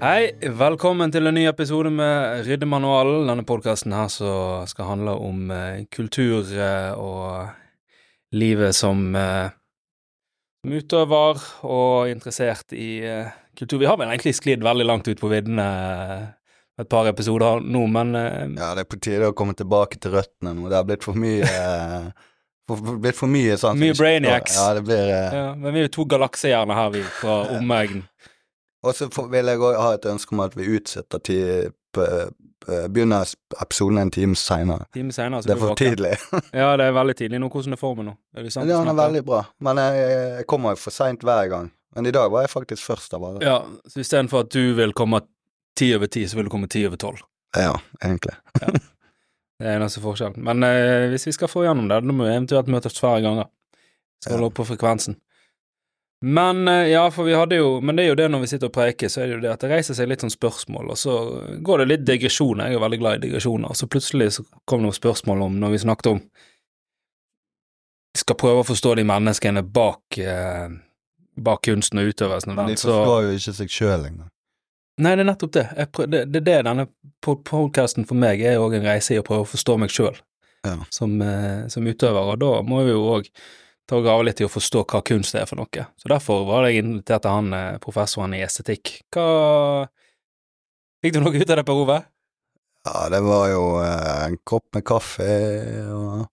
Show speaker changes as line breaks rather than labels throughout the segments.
Hei, velkommen til en ny episode med Ryddemanualen. Denne podkasten her som skal handle om eh, kultur eh, og livet som eh, som utøver og interessert i eh, kultur. Vi har vel egentlig sklidd veldig langt ut på viddene eh, et par episoder nå, men eh,
Ja, det er på tide å komme tilbake til røttene nå. Det har blitt for mye eh, for, for, blitt for mye sånn.
Mye brainiacs.
Ja, det blir eh,
ja, men vi er jo to galaksehjerner her, vi, fra omegn.
Og så får- vil jeg òg ha et ønske om at vi utsetter til Begynner sp- episoden en time seinere.
Time senere så
Det er
vi
for
tilbake.
tidlig.
Ja, det er veldig tidlig nå. Hvordan er formen nå? Er det sant?
Ja, den er
Sånn Snakker-
veldig bra, men jeg, jeg kommer for seint hver gang. Men i dag var jeg faktisk først av alle.
Ja, så istedenfor at du vil komme ti over ti, så vil du komme ti over tolv.
Ja, egentlig.
Det er eneste forskjellen. Men eh, hvis vi skal få gjennom det, da må vi eventuelt møtes flere ganger. Så holde opp på frekvensen. Men eh, ja, for vi hadde jo Men det er jo det når vi sitter og preker, så er det jo det at det reiser seg litt sånn spørsmål, og så går det litt digresjoner. Jeg er veldig glad i digresjoner. Og så plutselig så kom det noen spørsmål om når vi snakket om Vi skal prøve å forstå de menneskene bak eh, Bak kunsten og utøvelsen av
Men de
den.
forstår jo ikke seg sjøl engang.
Nei, det er nettopp det. Jeg prøv, det, det er det denne pod- podcasten for meg er òg en reise i å prøve å forstå meg sjøl
Ja.
som, eh, som utøver, og da må vi jo òg ta og grave litt i å forstå hva kunst er for noe. Så derfor var jeg invitert til han eh, professoren i estetikk. Hva Fikk du noe ut av det, Per Ove?
Ja, det var jo eh, en kopp med kaffe og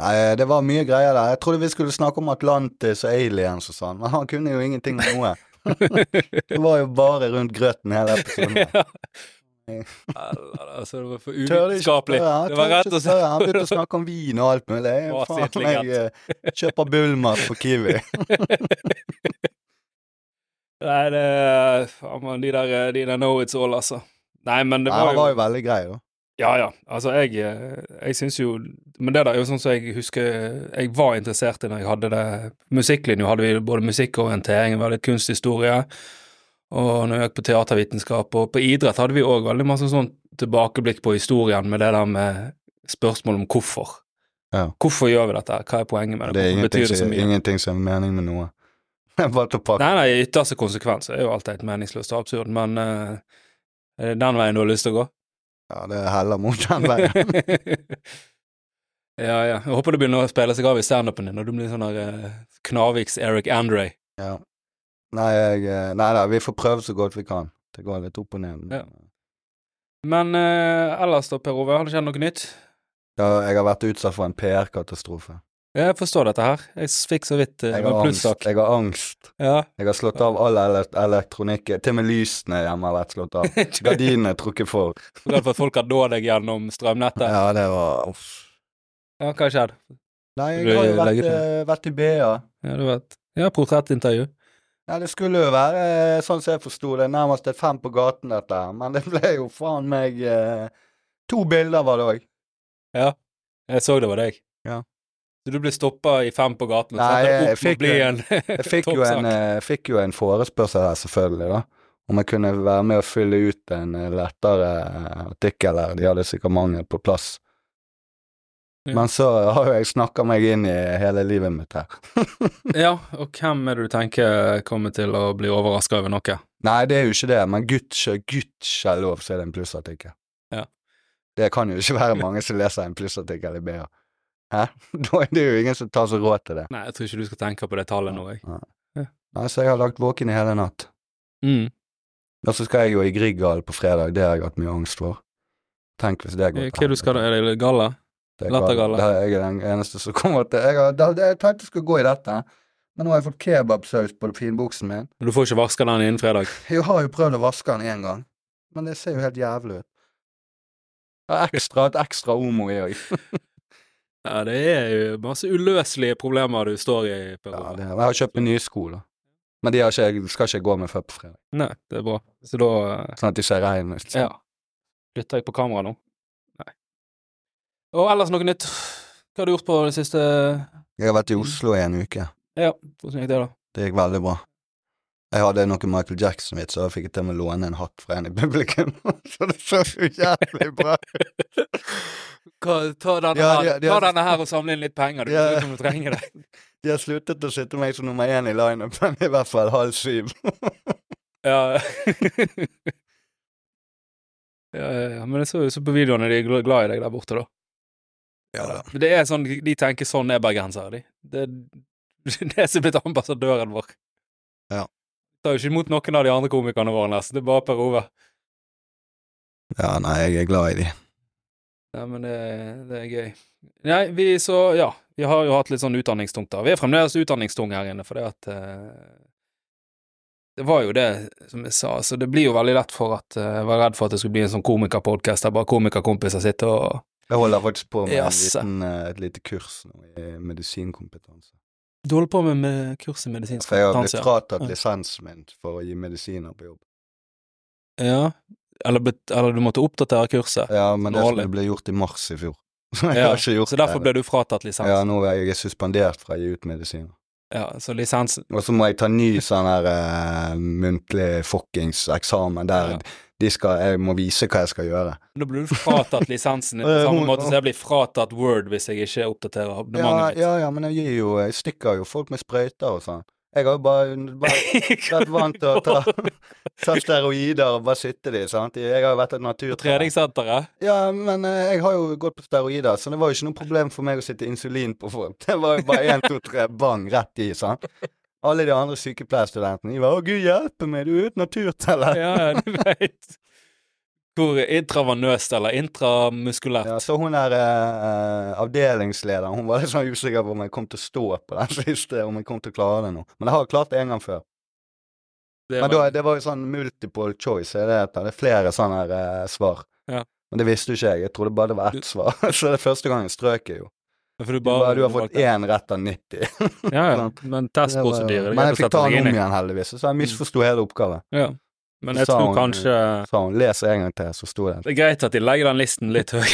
Nei, det var mye greier der. Jeg trodde vi skulle snakke om Atlantis og aliens og sånn, men han kunne jo ingenting om noe. Det var jo bare rundt grøten hele episoden.
Ja. Altså, det var for
Tør ikke
uvitenskapelig.
spørre, han
Det var
tør
rett
ikke
å si.
spørre. Han begynte å snakke om vin og alt mulig. Jeg,
Å,
faen,
sitt
jeg eh, kjøper Bullmat på Kiwi.
Nei, det faen, man, De der, eh, de der know it's all, altså. Nei, men det
Nei,
var
han
jo
var jo veldig grei, da.
Ja, ja. Altså, jeg, eh, jeg syns jo Men det der er jo sånn som jeg husker jeg var interessert i når jeg hadde det Musikklinja hadde vi både musikkorientering, vi hadde litt kunsthistorie, og når jeg gikk på teatervitenskap, og på idrett hadde vi òg veldig masse sånn tilbakeblikk på historien med det der med spørsmål om hvorfor.
Ja.
Hvorfor gjør vi dette, her? hva er poenget med det,
Det er
hvorfor
ingenting
betyr det så
som,
mye?
ingenting som er mening med noe. Jeg bare tok pakke.
Nei, nei, i ytterste konsekvens er jo alt helt meningsløst og absurd, men eh, er det den veien du har lyst til å gå?
Ja, det heller mot den veien.
ja, ja. Jeg håper det begynner å spille seg av i standupen din, og du blir sånn der eh, Knaviks Eric Andre.
Ja. Nei, jeg, eh, nei da, vi får prøve så godt vi kan. Det går litt opp og ned.
Ja. Men eh, ellers da, Per Ove, har det skjedd noe nytt?
Ja, jeg har vært utsatt for en PR-katastrofe.
Jeg forstår dette her. Jeg fikk så vidt eh, det
Jeg
var
har
en
angst.
plussak.
Jeg har angst.
Ja.
Jeg har slått av all ele- elektronikk. Til og med lysene hjemme har vært slått av.
Du er
Gardinene er trukket for.
redd for at folk har nå deg gjennom strømnettet.
Ja, det var uff.
Ja, hva har skjedd?
Nei,
Du
jeg har jo
legger
vært,
til.
eh, vært i BA.
Ja, du vet. Ja, portrettintervju.
Ja, det skulle jo være, eh, sånn som jeg forsto det, nærmest et fem på gaten, dette her. Men det ble jo faen meg eh, To bilder var det òg.
Jeg så det var deg.
Ja.
Så du ble stoppa i fem på gaten? og
Nei,
satte deg
jeg
opp med å
fikk
bli
jo
en
Jeg fikk jo, en,
toppsak.
eh, fikk jo en forespørsel her, selvfølgelig, da. Om jeg kunne være med å fylle ut en eh, lettere eh, artikkel her. De hadde sikkert mangel på plass.
Ja.
Men så har jo jeg snakka meg inn i hele livet mitt her.
Ja, og hvem er det du tenker kommer til å bli overraska over noe?
Nei, det er jo ikke det, men gudskjelov gud skjelov, så er det en plussartikkel.
Ja.
Det kan jo ikke være mange som leser en plussartikkel i BA. Hæ? Da er det jo ingen som tar seg råd til det.
Nei, jeg tror ikke du skal tenke på det tallet nå, jeg.
Nei, så jeg har lagt våken i hele natt.
Mm.
Og så skal jeg jo i Grieghallen på fredag, det har jeg hatt mye angst for. Tenk hvis det
Eh,
går
Hva du skal da, er det galla?
Det er
Lattergalla.
galt. Det er jeg er den eneste som kommer til Jeg, har, da- jeg tenkte jeg skulle gå i dette, men nå har jeg fått kebabsaus på finbuksen min.
Men Du får ikke vaska den innen fredag.
Jeg har jo prøvd å vaske den én gang, men det ser jo helt jævlig ut. Det er ekstra, et ekstra omo i òg.
Ja, det er jo masse uløselige problemer du står i, Per
Ja,
Ove.
det- jeg har kjøpt meg nye sko, da. Men de har ikke, jeg skal ikke gå med før på fredag,
Nei, det er bra. Så da eh,
sånn at de ser reine ut.
Ja. Flytter jeg på kamera nå? Nei. Og ellers noe nytt? Hva har du gjort på det siste
Jeg har vært i Oslo i en uke.
Ja, hvordan gikk det, da?
Det gikk veldig bra. Jeg hadde noen Michael Jackson-vitser, og jeg fikk til og med låne en hatt fra en i publikum. Så det så jo jævlig bra ut.
Hva- Ta denne,
Ja,
her,
de- de har-
ta denne her og samle inn litt penger, du.
Ja.
ser ut som Du trenger det.
De har sluttet å sitte meg som nummer én i lineupen, i hvert fall halv syv.
Ja. ja, ja, ja. Men jeg så, så på videoene de er gl- glad i deg der borte, da.
Ja da.
Men Det er sånn, De tenker sånn er bergensere, de. Det, det er som blitt ambassadøren vår.
Ja.
Tar jo ikke imot noen av de andre komikerne våre, nesten. Det er bare Per Ove.
Ja, nei, jeg er glad i de.
Nei, men det, det er gøy. Nei, vi så Ja, vi har jo hatt litt sånn utdanningstungt da. Vi er fremdeles utdanningstung her inne, for det at eh, Det var jo det som jeg sa, så det blir jo veldig lett for at eh, Jeg var redd for at det skulle bli en sånn komikerpodkast der bare komikerkompiser sitter og
Jeg holder faktisk på med en
Jaså.
liten, eh, et lite kurs nå i medisinkompetanse.
Du holder på med, med kurs i medisinsk
For jeg har blitt
kompetanse? ja. Mm.
fratatt lisensen min for å gi medisiner på jobb.
Ja. Eller, blitt- eller du måtte oppdatere kurset?
Ja, men det
Dårlig.
skulle bli gjort i mars i fjor. Så jeg
Ja,
har ikke gjort
Så derfor
det.
ble du fratatt lisens?
Ja,
Ja,
nå er jeg suspendert fra å gi ut medisiner.
så lisensen
Og så må jeg ta ny sånn her eh, muntlig fuckings eksamen der
Ja.
de skal, jeg må vise hva jeg skal gjøre.
Da blir du fratatt lisensen på
Eh,
samme
hun-
måte som jeg blir fratatt Word hvis jeg ikke oppdaterer
Ja,
abonnementet
ja, ja, men jeg gir jo Jeg stikker jo folk med sprøyter og sånn. Jeg har jo bare, bare
mitt.
vært vant til å ta, ta steroider og bare sitte i, sant. Jeg har jo vært et
På
naturtrener.
treningssenteret?
Ja, men eh, jeg har jo gått på steroider, så det var jo ikke noe problem for meg å sitte insulin på folk. Det var jo bare én, to, tre, bang, rett i, sant. Alle de andre sykepleierstudentene, de var 'Å, gud hjelpe meg, du er uten naturteller'.
Ja, ja, du veit. Hvor intravenøst eller intramuskulært.
Ja, så hun der eh, avdelingslederen, hun var litt sånn usikker på om jeg kom til å stå på den siste, om jeg kom til å klare det nå. Men jeg har jo klart det en gang før.
Det
Men
var-
da, det var jo sånn multiple choice, er det det heter? Det er flere sånne her, eh, svar.
Ja.
Men det visste jo ikke jeg, jeg trodde bare det var
Du-
ett svar. så det er første gangen strøk jeg jo.
for du
Du, bare, du har fått
valgte-
én rett av 90.
Ja, ja.
sånn.
Men
Det var-
testprosedyre det er
Men
greit
jeg
å
fikk
sette
ta
seg
den
inn
om
i. Mm.
igjen, heldigvis. Så jeg misforsto hele oppgaven.
Ja. Men jeg
Sa
tror
hun-
kanskje
Så hun les en gang til, så sto det.
Det er greit at de legger den listen litt høy.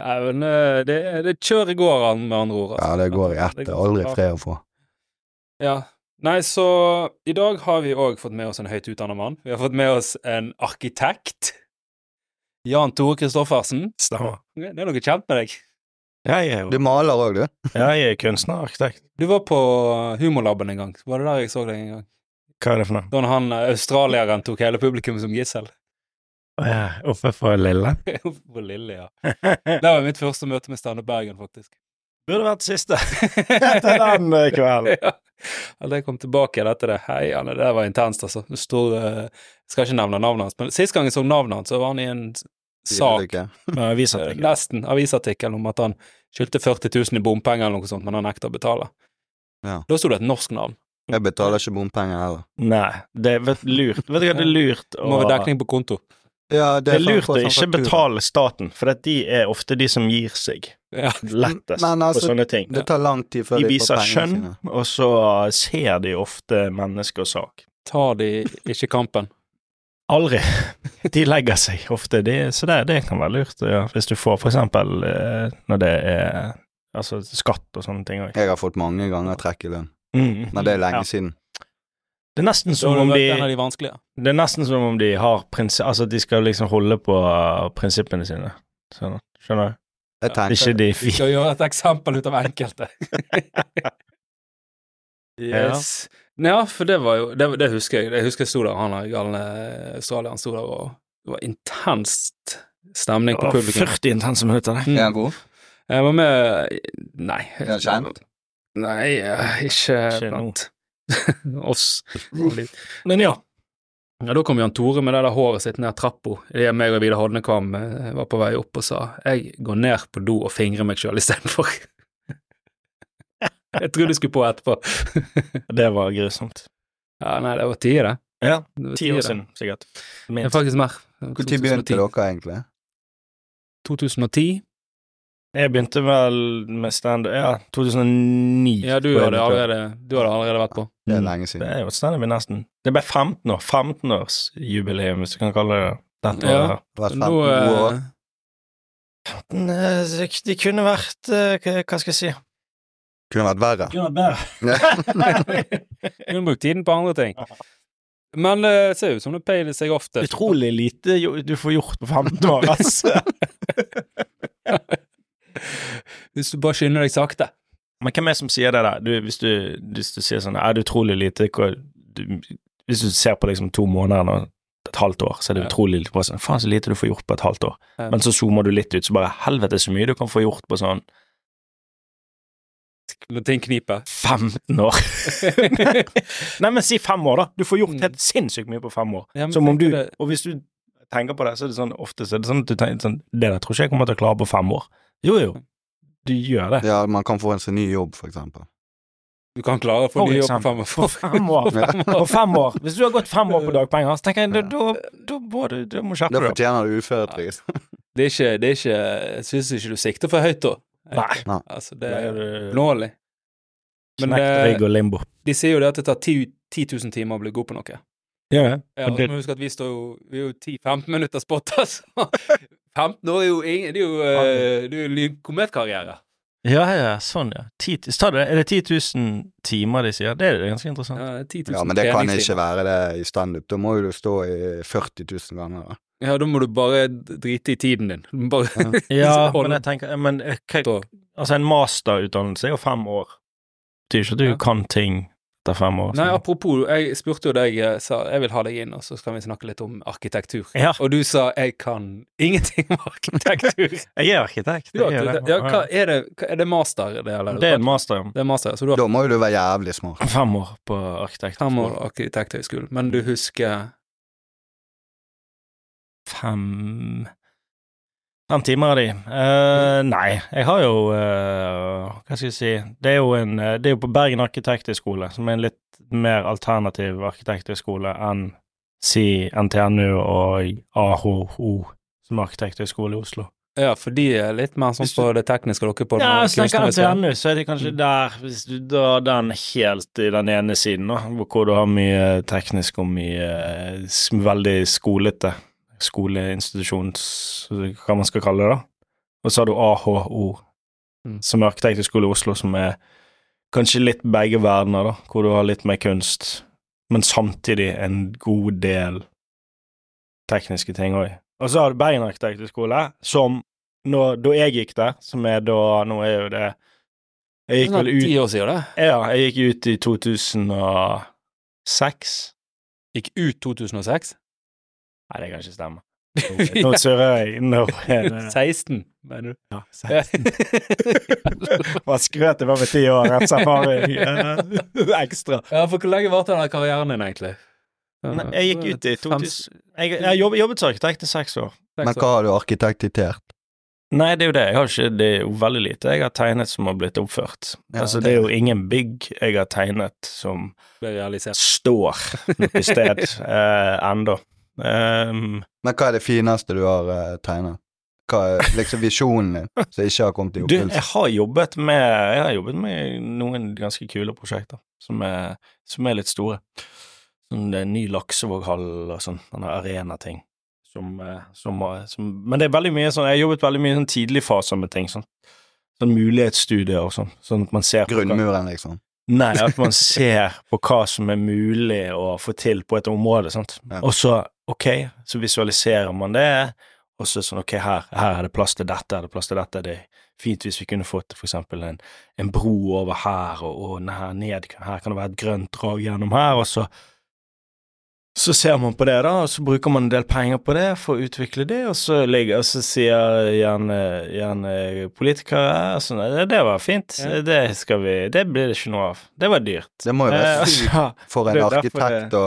Nei, men eh, det, det kjører går, an- med andre ord. altså.
Ja, det går i ett.
Det
Det er aldri
klart.
fred å få.
Ja. Nei, så i dag har vi òg fått med oss en høyt utdanna mann. Vi har fått med oss en arkitekt. Jan Tore Kristoffersen.
Stemmer.
Det er noe kjent med deg.
Jeg er
Du
jo
maler òg, du?
jeg er kunstnerarkitekt.
Du var på Humorlaben en gang. Var det der jeg så deg en gang?
Hva er det for noe?
Da han eh, australieren tok hele publikum som gissel.
Å, ja, Oppe for Lille?
På Lille, ja.
Burde
Det var mitt første møte med Standup Bergen, faktisk.
vært siste til den eh, kvelden.
ja. Eller jeg kom tilbake igjen etter det. Hei, Anne, det der var intenst, altså. Det står eh, Jeg skal ikke nevne navnet hans, men sist gang jeg så navnet hans, så var han i en sak eh,
Ikke?
Men jeg viser at jeg ikke-
Nesten avisartikkel om at han skyldte 40 000 i bompenger eller noe sånt, men han nekta å betale.
Ja.
Da sto det et norsk navn.
Jeg betaler ikke bompenger heller.
Nei, det er vet- lurt. Vet du hva, det er lurt å
Må ha dekning på konto.
Ja,
Det er lurt
sånn- sånn
å ikke
faktura.
betale staten, for at de er ofte de som gir seg
Ja.
lettest
Men
på
altså,
sånne ting.
Det tar lang tid før
De
de,
viser
får pengene
skjønn,
sine.
og så ser de ofte menneske og sak.
Tar de ikke kampen?
Aldri. De legger seg ofte, de, så det, det kan være lurt. Ja. Hvis du får for eksempel eh, når det er altså, skatt og sånne ting òg.
Jeg har fått mange ganger trekk i lønn,
Mm.
men det er lenge
Ja.
siden.
Det er nesten
Da
som
har
om
det vært
de
en av de vanskelige.
Det er nesten som om de har prins... Altså, at de skal liksom holde på uh, prinsippene sine. Sånn, skjønner du?
Jeg
Det er
tenker
Ikke de
Vi
fire
skal gjøre et eksempel ut av enkelte. yes. Ja, for det var jo Det, det husker jeg. Jeg husker jeg sto der, han der galne australieren sto der, og det var intenst stemning på publikum.
40 intense minutter, det.
Mm.
Er han god?
Jeg var med Nei.
Er han kjent?
Nei, eh, ikke,
Ikke
blant oss.
Men ja.
Ja, da kom Jan Tore med det der håret sitt ned trappa idet meg og Vidar Hodnekvam eh, var på vei opp og sa jeg går ned på do og fingrer meg sjøl istedenfor. jeg tror du skulle på etterpå.
Det var grusomt.
Ja, nei, det var ti, det.
Ja,
det var
ti år
det.
siden, sikkert.
Det er
Minst.
faktisk mer.
Når begynte dere, egentlig?
2010.
Jeg begynte vel med standup Ja, 2009.
Ja, du
tror jeg
hadde
begynte.
allerede, du hadde allerede vært på.
Det er
Mm.
lenge
Det
siden.
er jo et standup i nesten Det ble 15 år. 15-årsjubileum, hvis du kan kalle det det. Dette
Ja.
året her.
Det har vært
Nå,
15 år.
eh,
Men, eh, så De kunne vært eh, Hva hva skal jeg si?
Kunne vært verre.
Kunne vært bedre.
Hun brukte tiden på andre ting. Men eh, det ser ut som det peiler seg ofte.
Utrolig lite jo- du får gjort på 15 år, altså. ass.
Hvis du bare skynder deg sakte.
Men hvem er det som sier det der? Du, hvis, du, hvis du sier sånn Er det utrolig lite hva, du, Hvis du ser på liksom to måneder nå, et halvt år, så er det
Ja.
utrolig lite på sånn Faen, så lite du får gjort på et halvt år.
Ja.
Men så zoomer du litt ut, så bare Helvete, så mye du kan få gjort på sånn
Når ting kniper.
15 år. Nei, men si fem år, da. Du får gjort helt sinnssykt mye på fem år.
Mm. Ja, men
Som om
tenker
du
det-
Og hvis du tenker på det, så er det sånn ofte så er det sånn at du tenker sånn Det der tror ikke jeg kommer til å klare på fem år. Jo, jo. Du gjør det.
Ja, man kan få en sin ny jobb, for eksempel.
Du kan klare å få
For
ny jobb på
eksempel.
fem år.
På fem år.
Fem år.
På fem år. Hvis du har gått fem år på dagpenger, så tenker jeg da, da, da må du, da må du skjerpe
Da
deg. opp.
fortjener du liksom. uføretrygd.
Det er ikke, det er ikke Jeg syns ikke du sikter for høyt, da.
Nei.
Altså,
Det
det
er
er
du
nålig. Men
knekt
eh,
rygg og limbo.
de sier jo det at det tar 10 10 000 timer å bli god på noe.
Ja, ja.
Ja,
Og
og så
det-
må vi huske at vi står jo Vi er jo 10-15 minutter spot, altså. 15 år er jo ingen Det er jo, eh, det er jo lynkometkarriere.
ja, ja, sånn, ja. Ti, tar du det, er det 10 000 timer de sier? Det er ganske interessant.
Ja, 10 000
Ja, men det kan
treningstimer.
ikke være det i standup. Da må jo du stå i 40 000 ganger. da.
Ja, da må du bare drite i tiden din. Du må Bare
Ja,
Hold-
men jeg tenker men, eh, hva,
Da.
Altså, en masterutdannelse er jo fem år. Det betyr ikke at du
Ja.
kan ting etter fem år. sånn.
Nei,
så-
apropos, jeg spurte jo deg, jeg sa jeg vil ha deg inn, og så skal vi snakke litt om arkitektur.
Ja.
Og du sa jeg kan ingenting om arkitektur.
jeg er arkitekt.
Du,
jeg er
arkitekt-
det.
ja, hva er det? hva- Er det master, det, eller?
Det er en master, ja.
Det er master, så du har
Da må jo du være jævlig smart.
Fem år på arkitekt.
fem år arkitekthøgskolen, men du husker
Fem Fem timer av de. Eh, nei, jeg har jo eh, Hva skal jeg si Det er jo, en, eh, det er jo på Bergen arkitekthøgskole, som er en litt mer alternativ arkitekthøgskole enn si NTNU og AHO, som er arkitekthøgskole i Oslo.
Ja, for de er litt mer sånn
Hvis du-
på det tekniske dere på
Ja,
den
hvis du tenker
kunstneriske.
NTNU, så er det kanskje
Mm.
der Hvis du drar den helt i den ene siden, da, hvor- hvor du har mye teknisk og mye eh, s- veldig skolete skoleinstitusjons... Hva man skal kalle det, da. Og så har du AHO,
Mm.
som er arkitekthøgskole i Oslo, som er kanskje litt begge verdener, da, hvor du har litt mer kunst, men samtidig en god del tekniske ting òg. Og så har du Bergen arkitekthøgskole, som når, da jeg gikk der, som er da Nå er jo det Jeg gikk
Sånn
vel ut
Ti år siden, det.
Ja, jeg gikk ut i 2006.
Gikk ut 2006.
Nei, det kan ikke stemme. Nå- Nå surrer jeg. Nå er det
16, mener du.
ja,
Ja.
Hva skrøt jeg var med ti år, rett erfaring eh, ekstra.
ja, for hvor lenge varte denne karrieren din, egentlig?
Nei, jeg gikk ut i
Fem-
2000 Jeg, jeg jobb- jobbet som arkitekt i seks år.
seks
Men hva
år.
har du arkitektitert?
Nei, det er jo det. Jeg har ikke, det er jo veldig lite jeg har tegnet som har blitt oppført.
Ja,
altså, det er jo ingen bygg jeg har tegnet som
Ble realisert.
står noe sted eh, ennå. Ehm,
Men hva er det fineste du har eh, tegnet? Hva er liksom visjonen din, som ikke har kommet i
du, jeg
oppfyllelse?
har jobbet med Jeg har jobbet med noen ganske kule prosjekter som er, som er litt store. Som det er en ny Laksevåghall og sånn, sånne arenating. Som, eh, som, eh, som, men det er veldig mye sånn Jeg har jobbet veldig mye i sånn tidligfaser med ting. Sånn, sånn mulighetsstudier og sånn. Sånn at man ser på hva-
Grunnmuren, liksom.
Nei, at man ser på hva som er mulig å få til på et område, sant.
Ja.
Og så, ok, så visualiserer man det, og så sånn, ok, her, her er det plass til dette, her er det plass til dette, det er fint hvis vi kunne fått for eksempel en, en bro over her, og, og den her ned, her kan det være et grønt drag gjennom her, og så så ser man på det, da, og så bruker man en del penger på det for å utvikle det, og så, ligger, og så sier gjerne, gjerne politikere altså, nei, det, det var fint,
Ja.
det skal vi Det blir det ikke noe av. Det var dyrt.
Det må jo
Eh,
være sykt
altså,
for
det
en
er derfor
arkitekt å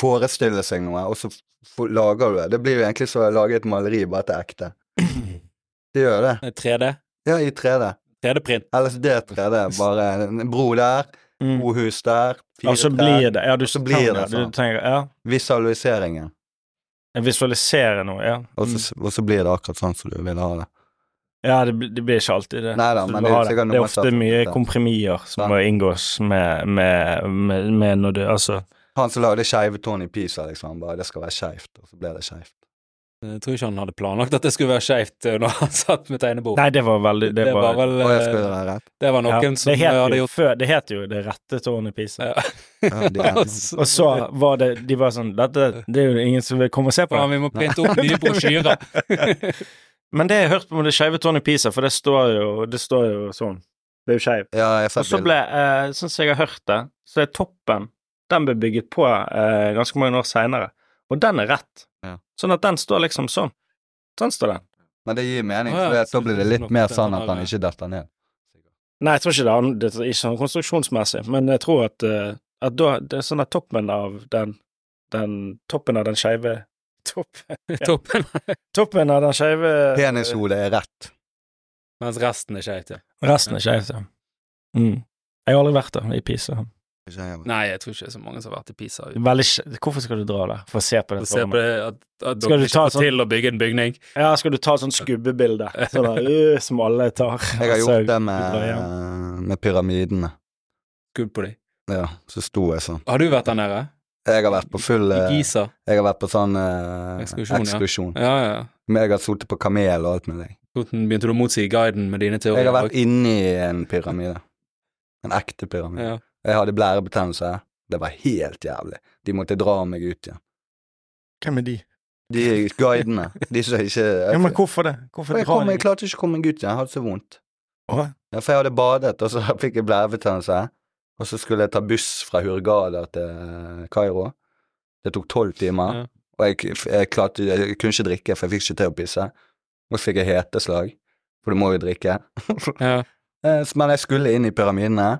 forestille seg noe, og så f- lager du det. Det blir jo egentlig som å lage et maleri bare til ekte. Det gjør det.
3D.
Ja, i 3D.
3D-print.
LSD-3D. Bare en bro der,
mm.
to hus der, fire
Og så
trær.
blir det Ja, du
så blir det
Du
sånn.
tenker Ja,
Visualiseringen.
jeg visualiserer noe, ja.
Og så, og så blir det akkurat sånn som du vil ha det.
Ja, det, blir- det blir ikke alltid det.
Neida,
Så du
men
må
det er
ha
sikkert noe
det er
man tar
ofte
for
mye
gitt, ja.
komprimier som
Sant.
må inngås med, med, med, med når du Altså
Han som lagde skeive Tony Pisa, liksom. Bare det skal være skeivt, og så blir det skeivt.
Jeg tror ikke han hadde planlagt at det skulle være skeivt eh, når han satt med tegnebord.
Nei, det var veldig
det, var vel
Å, jeg skulle
eh,
være rett.
Det var noen
ja,
som
det het
hadde
jo
gjort
før- Det het jo Det rette tårnet i Pisa.
Ja.
Ja, de er-
Og
Og så var det De var sånn Dette det er jo ingen som vil komme og se på.
Ja,
det.
vi må printe opp nye brosjyrer.
Men det jeg har hørt om det skeive tårnet i Pisa, for det står jo Det står jo sånn ble jo skeiv.
Ja, jeg
Og
har
så
sett
ble,
bildet.
eh, sånn som jeg har hørt det, så er toppen Den ble bygget på eh, ganske mange år seinere, og den er rett.
Ja.
Sånn at den står liksom sånn. Sånn står den.
Men det gir mening,
Å, ja.
for det- da blir det litt mer sånn at han
Ja.
ikke detter ned.
Nei, jeg tror ikke det, er an- det er ikke sånn konstruksjonsmessig, men jeg tror at, eh, at da det er sånn at toppen av den, den Toppen av den skeive toppen,
Toppen.
toppen av den skeive eh,
Penishodet er rett.
Mens resten er skeivt, ja.
Resten er skeivt, ja. Mm. Jeg har aldri vært der, i Pisa.
Ikke jeg, men.
Nei, jeg tror ikke det er så mange som har vært i Pisa.
Veldig, skje- hvorfor skal du dra der? For å se på det?
Og se på
tårnet?
det at, at
Skal
dere
du
ikke
ta
får
sånn-
til å bygge en bygning.
Ja, skal du ta sånn skubbebilde sånn der, øh, som alle tar?
jeg har
Altså,
gjort det
du drar hjem.
med, med pyramidene.
Skudd på dem.
Ja, så sto jeg sånn.
Har du vært der nede?
Jeg har vært på full
I
eh,
Giza?
Jeg har vært på sånn eh,
Ekskursjon, ja.
ekskursjon.
Ja, ja. ja.
Men jeg har sittet på kamel og alt med deg.
Hvordan begynte du å motsi guiden med dine teorier?
Jeg har vært inni en pyramide. En ekte pyramide.
ja.
Jeg hadde blærebetennelse. Det var helt jævlig. De måtte dra meg ut igjen.
Hvem er de?
De guidene. De som ikke
Ja, men hvorfor det? Hvorfor
For jeg,
drar
kom,
de?
jeg klarte ikke å komme meg ut igjen. Jeg hadde så vondt.
Åh,
Ja, for jeg hadde badet, og så fikk jeg blærebetennelse. Og så skulle jeg ta buss fra Hurghada til eh, Kairo. Det tok tolv timer.
Ja.
Og jeg, jeg, klarte, jeg kunne ikke drikke, for jeg fikk ikke til å pisse. Og så fikk jeg heteslag, for du må jo drikke.
Ja.
Eh, så- Men jeg skulle inn i pyramidene,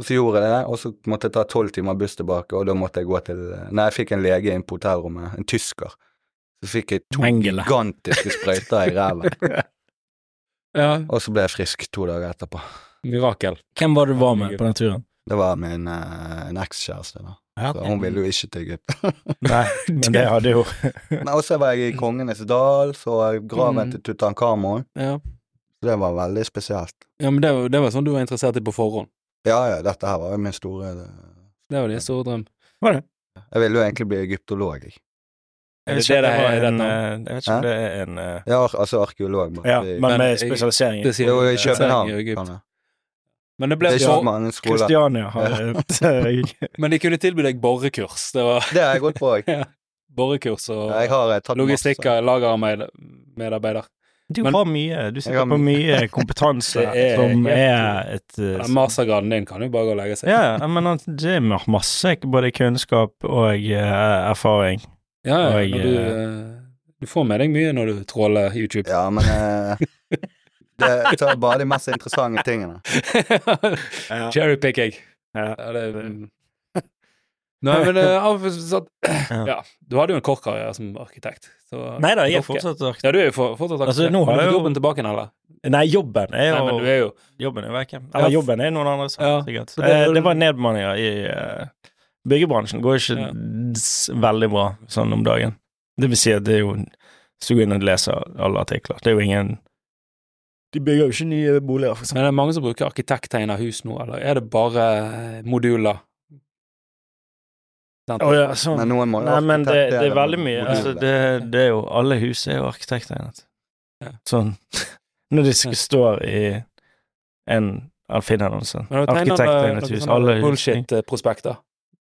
og så gjorde jeg det. Og så måtte jeg ta tolv timer buss tilbake, og da måtte jeg gå til eh, Nei, jeg fikk en lege inn på hotellrommet, en tysker. Så fikk jeg to
Mengele.
gigantiske sprøyter i ræva,
ja.
og så ble jeg frisk to dager etterpå.
Mirakel.
Hvem var du var med på den turen?
Det var min eh, en ekskjæreste, da.
Ja,
Så hun ville jo ikke til Egypt.
Nei, men det hadde jo
Men også var jeg i Kongenes dal, så
Mm.
graven til Tutankhamon.
Ja.
Så det var veldig spesielt.
ja, men det var, det var sånn du var interessert i på forhånd.
Ja, ja, dette her var jo min store eh,
Det var din store drøm.
Jeg ville jo egentlig bli egyptolog, jeg.
Er det det det
var
er, det
en,
nå?
eh, Jeg vet ikke om
Hæ?
det er en eh,
Ja, ar- altså arkeolog. bare
Ja,
fordi-
men
Men
med
jeg-
spesialisering.
Det sier-
Jo, i
i
København.
Egypt.
kan jeg.
Men det
Det
ble
er ikke
ja,
så mange skoler.
Kristiania har eh, et
Men de kunne tilby deg borekurs. Det var
Det har jeg gått på òg.
borekurs og
Jeg har eh, tatt masse.
logistikker, lagermedarbeider.
Du
Men-
har mye. Du
Jeg har
sitter på mye kompetanse
Det er
som
helt-
er et eh,
Den mastergraden din kan jo bare gå og legge seg.
Ja, ja, men han- Jim har masse både kunnskap og eh, erfaring.
Ja, ja,
Og jeg,
når du, eh, du får med deg mye når du tråler YouTube.
Ja, men eh, det tar bare de mest interessante tingene.
Cherrypick, jeg.
Ja.
Ja, det, Nei, men eh, av- så,
Ja.
ja, du hadde jo en kort karriere som arkitekt. Så,
Nei da, jeg er
Dere.
fortsatt aktiv.
Ja, du er jo for, fortsatt
Altså, nå har
Har du
jeg
fått
jo-
jobben tilbake igjen, eller?
Nei, jobben er
Nei,
jo
men du er jo
Jobben er vekke.
Ja.
Eller jobben er noen andre, som-
Ja.
sikkert.
det er-
Eh, Det var nedbemanninger i eh, byggebransjen. Går ikke s- veldig bra sånn om dagen. Det vil si at det er jo Hvis du går inn og leser alle artikler, det er jo ingen De bygger jo ikke nye boliger, for
Men det er mange som bruker arkitekttegn av hus nå, eller er det bare eh, moduler? Sant?
Å ja, sånn.
Men noen må jo
Nei, men det,
arkitektere
det er veldig mye.
moduler.
Altså, det, det er jo Alle hus er jo arkitekttegnet.
Ja.
Sånn Når det sk- står i en Finn-annonse
Men du tegner eh, noen
Arkitekttegnet hus. Alle
sånne
hus.
bullshit-prospekter.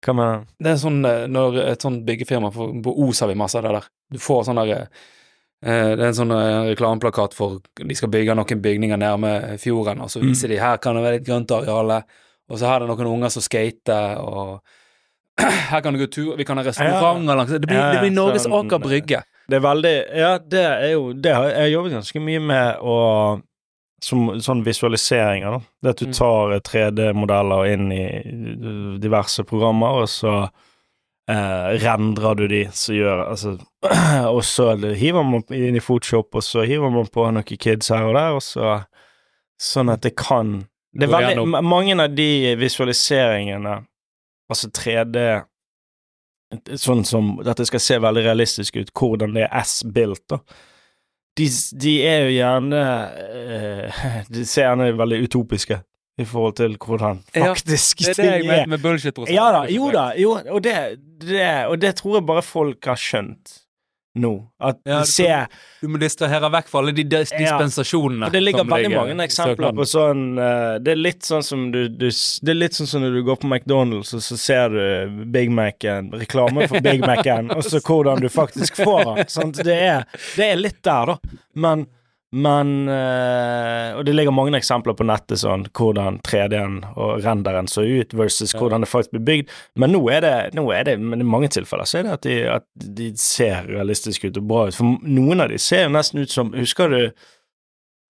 Hva mener du?
Det er sånn eh, når et sånt byggefirma får, På Os har vi masse av det der. Du får sånn der eh, Det er en sånn eh, reklameplakat for De skal bygge noen bygninger nærme fjorden, og så
Mm.
viser de her kan det være litt grønt areale, og så her er det noen unger som skater, og her kan du gå tur, vi kan ha restauranter langs Det blir,
Ja, ja,
det blir Norges
sånn,
Aker Brygge.
Det er veldig Ja, det er jo Det har jeg har jobbet ganske mye med å som sånn visualiseringer, da. Det at du
Mm.
tar eh, 3D-modeller inn i eh, diverse programmer, og så eh, rendrer du de, så gjør Altså Og så hiver man inn i Photoshop, og så hiver man på noen kids her og der, og så Sånn at det kan Det er
Går
veldig
gjennom.
ma- Mange av de visualiseringene, altså 3D Sånn som Dette skal se veldig realistisk ut, hvordan det er S-built, da. De, s- de er jo gjerne eh, De ser gjerne veldig utopiske i forhold til hvordan
Ja,
faktisk
Det er det
ting
jeg
er.
mente med bullshit-prosent.
Ja da, jo da, jo, og det, det, og det tror jeg bare folk har skjønt nå. At
Ja,
de
det-
ser
Du må distrahere vekk fra alle de dis-
Ja.
dispensasjonene.
For det ligger
som
veldig
ligger i
mange eksempler
søknaden.
på sånn eh, Det er litt sånn som du, du s- Det er litt sånn som når du går på McDonald's, og så ser du Big Mac-en, reklame for Big Mac-en, og så hvordan du faktisk får den. Sant? Det, er, det er litt der, da. Men Men eh, Og det ligger mange eksempler på nettet sånn hvordan 3D-en og renderen så ut versus
Ja.
hvordan det faktisk blir bygd. Men nå er det, nå er det men i mange tilfeller så er det at de, at de ser realistiske ut og bra ut. For noen av de ser jo nesten ut som Husker du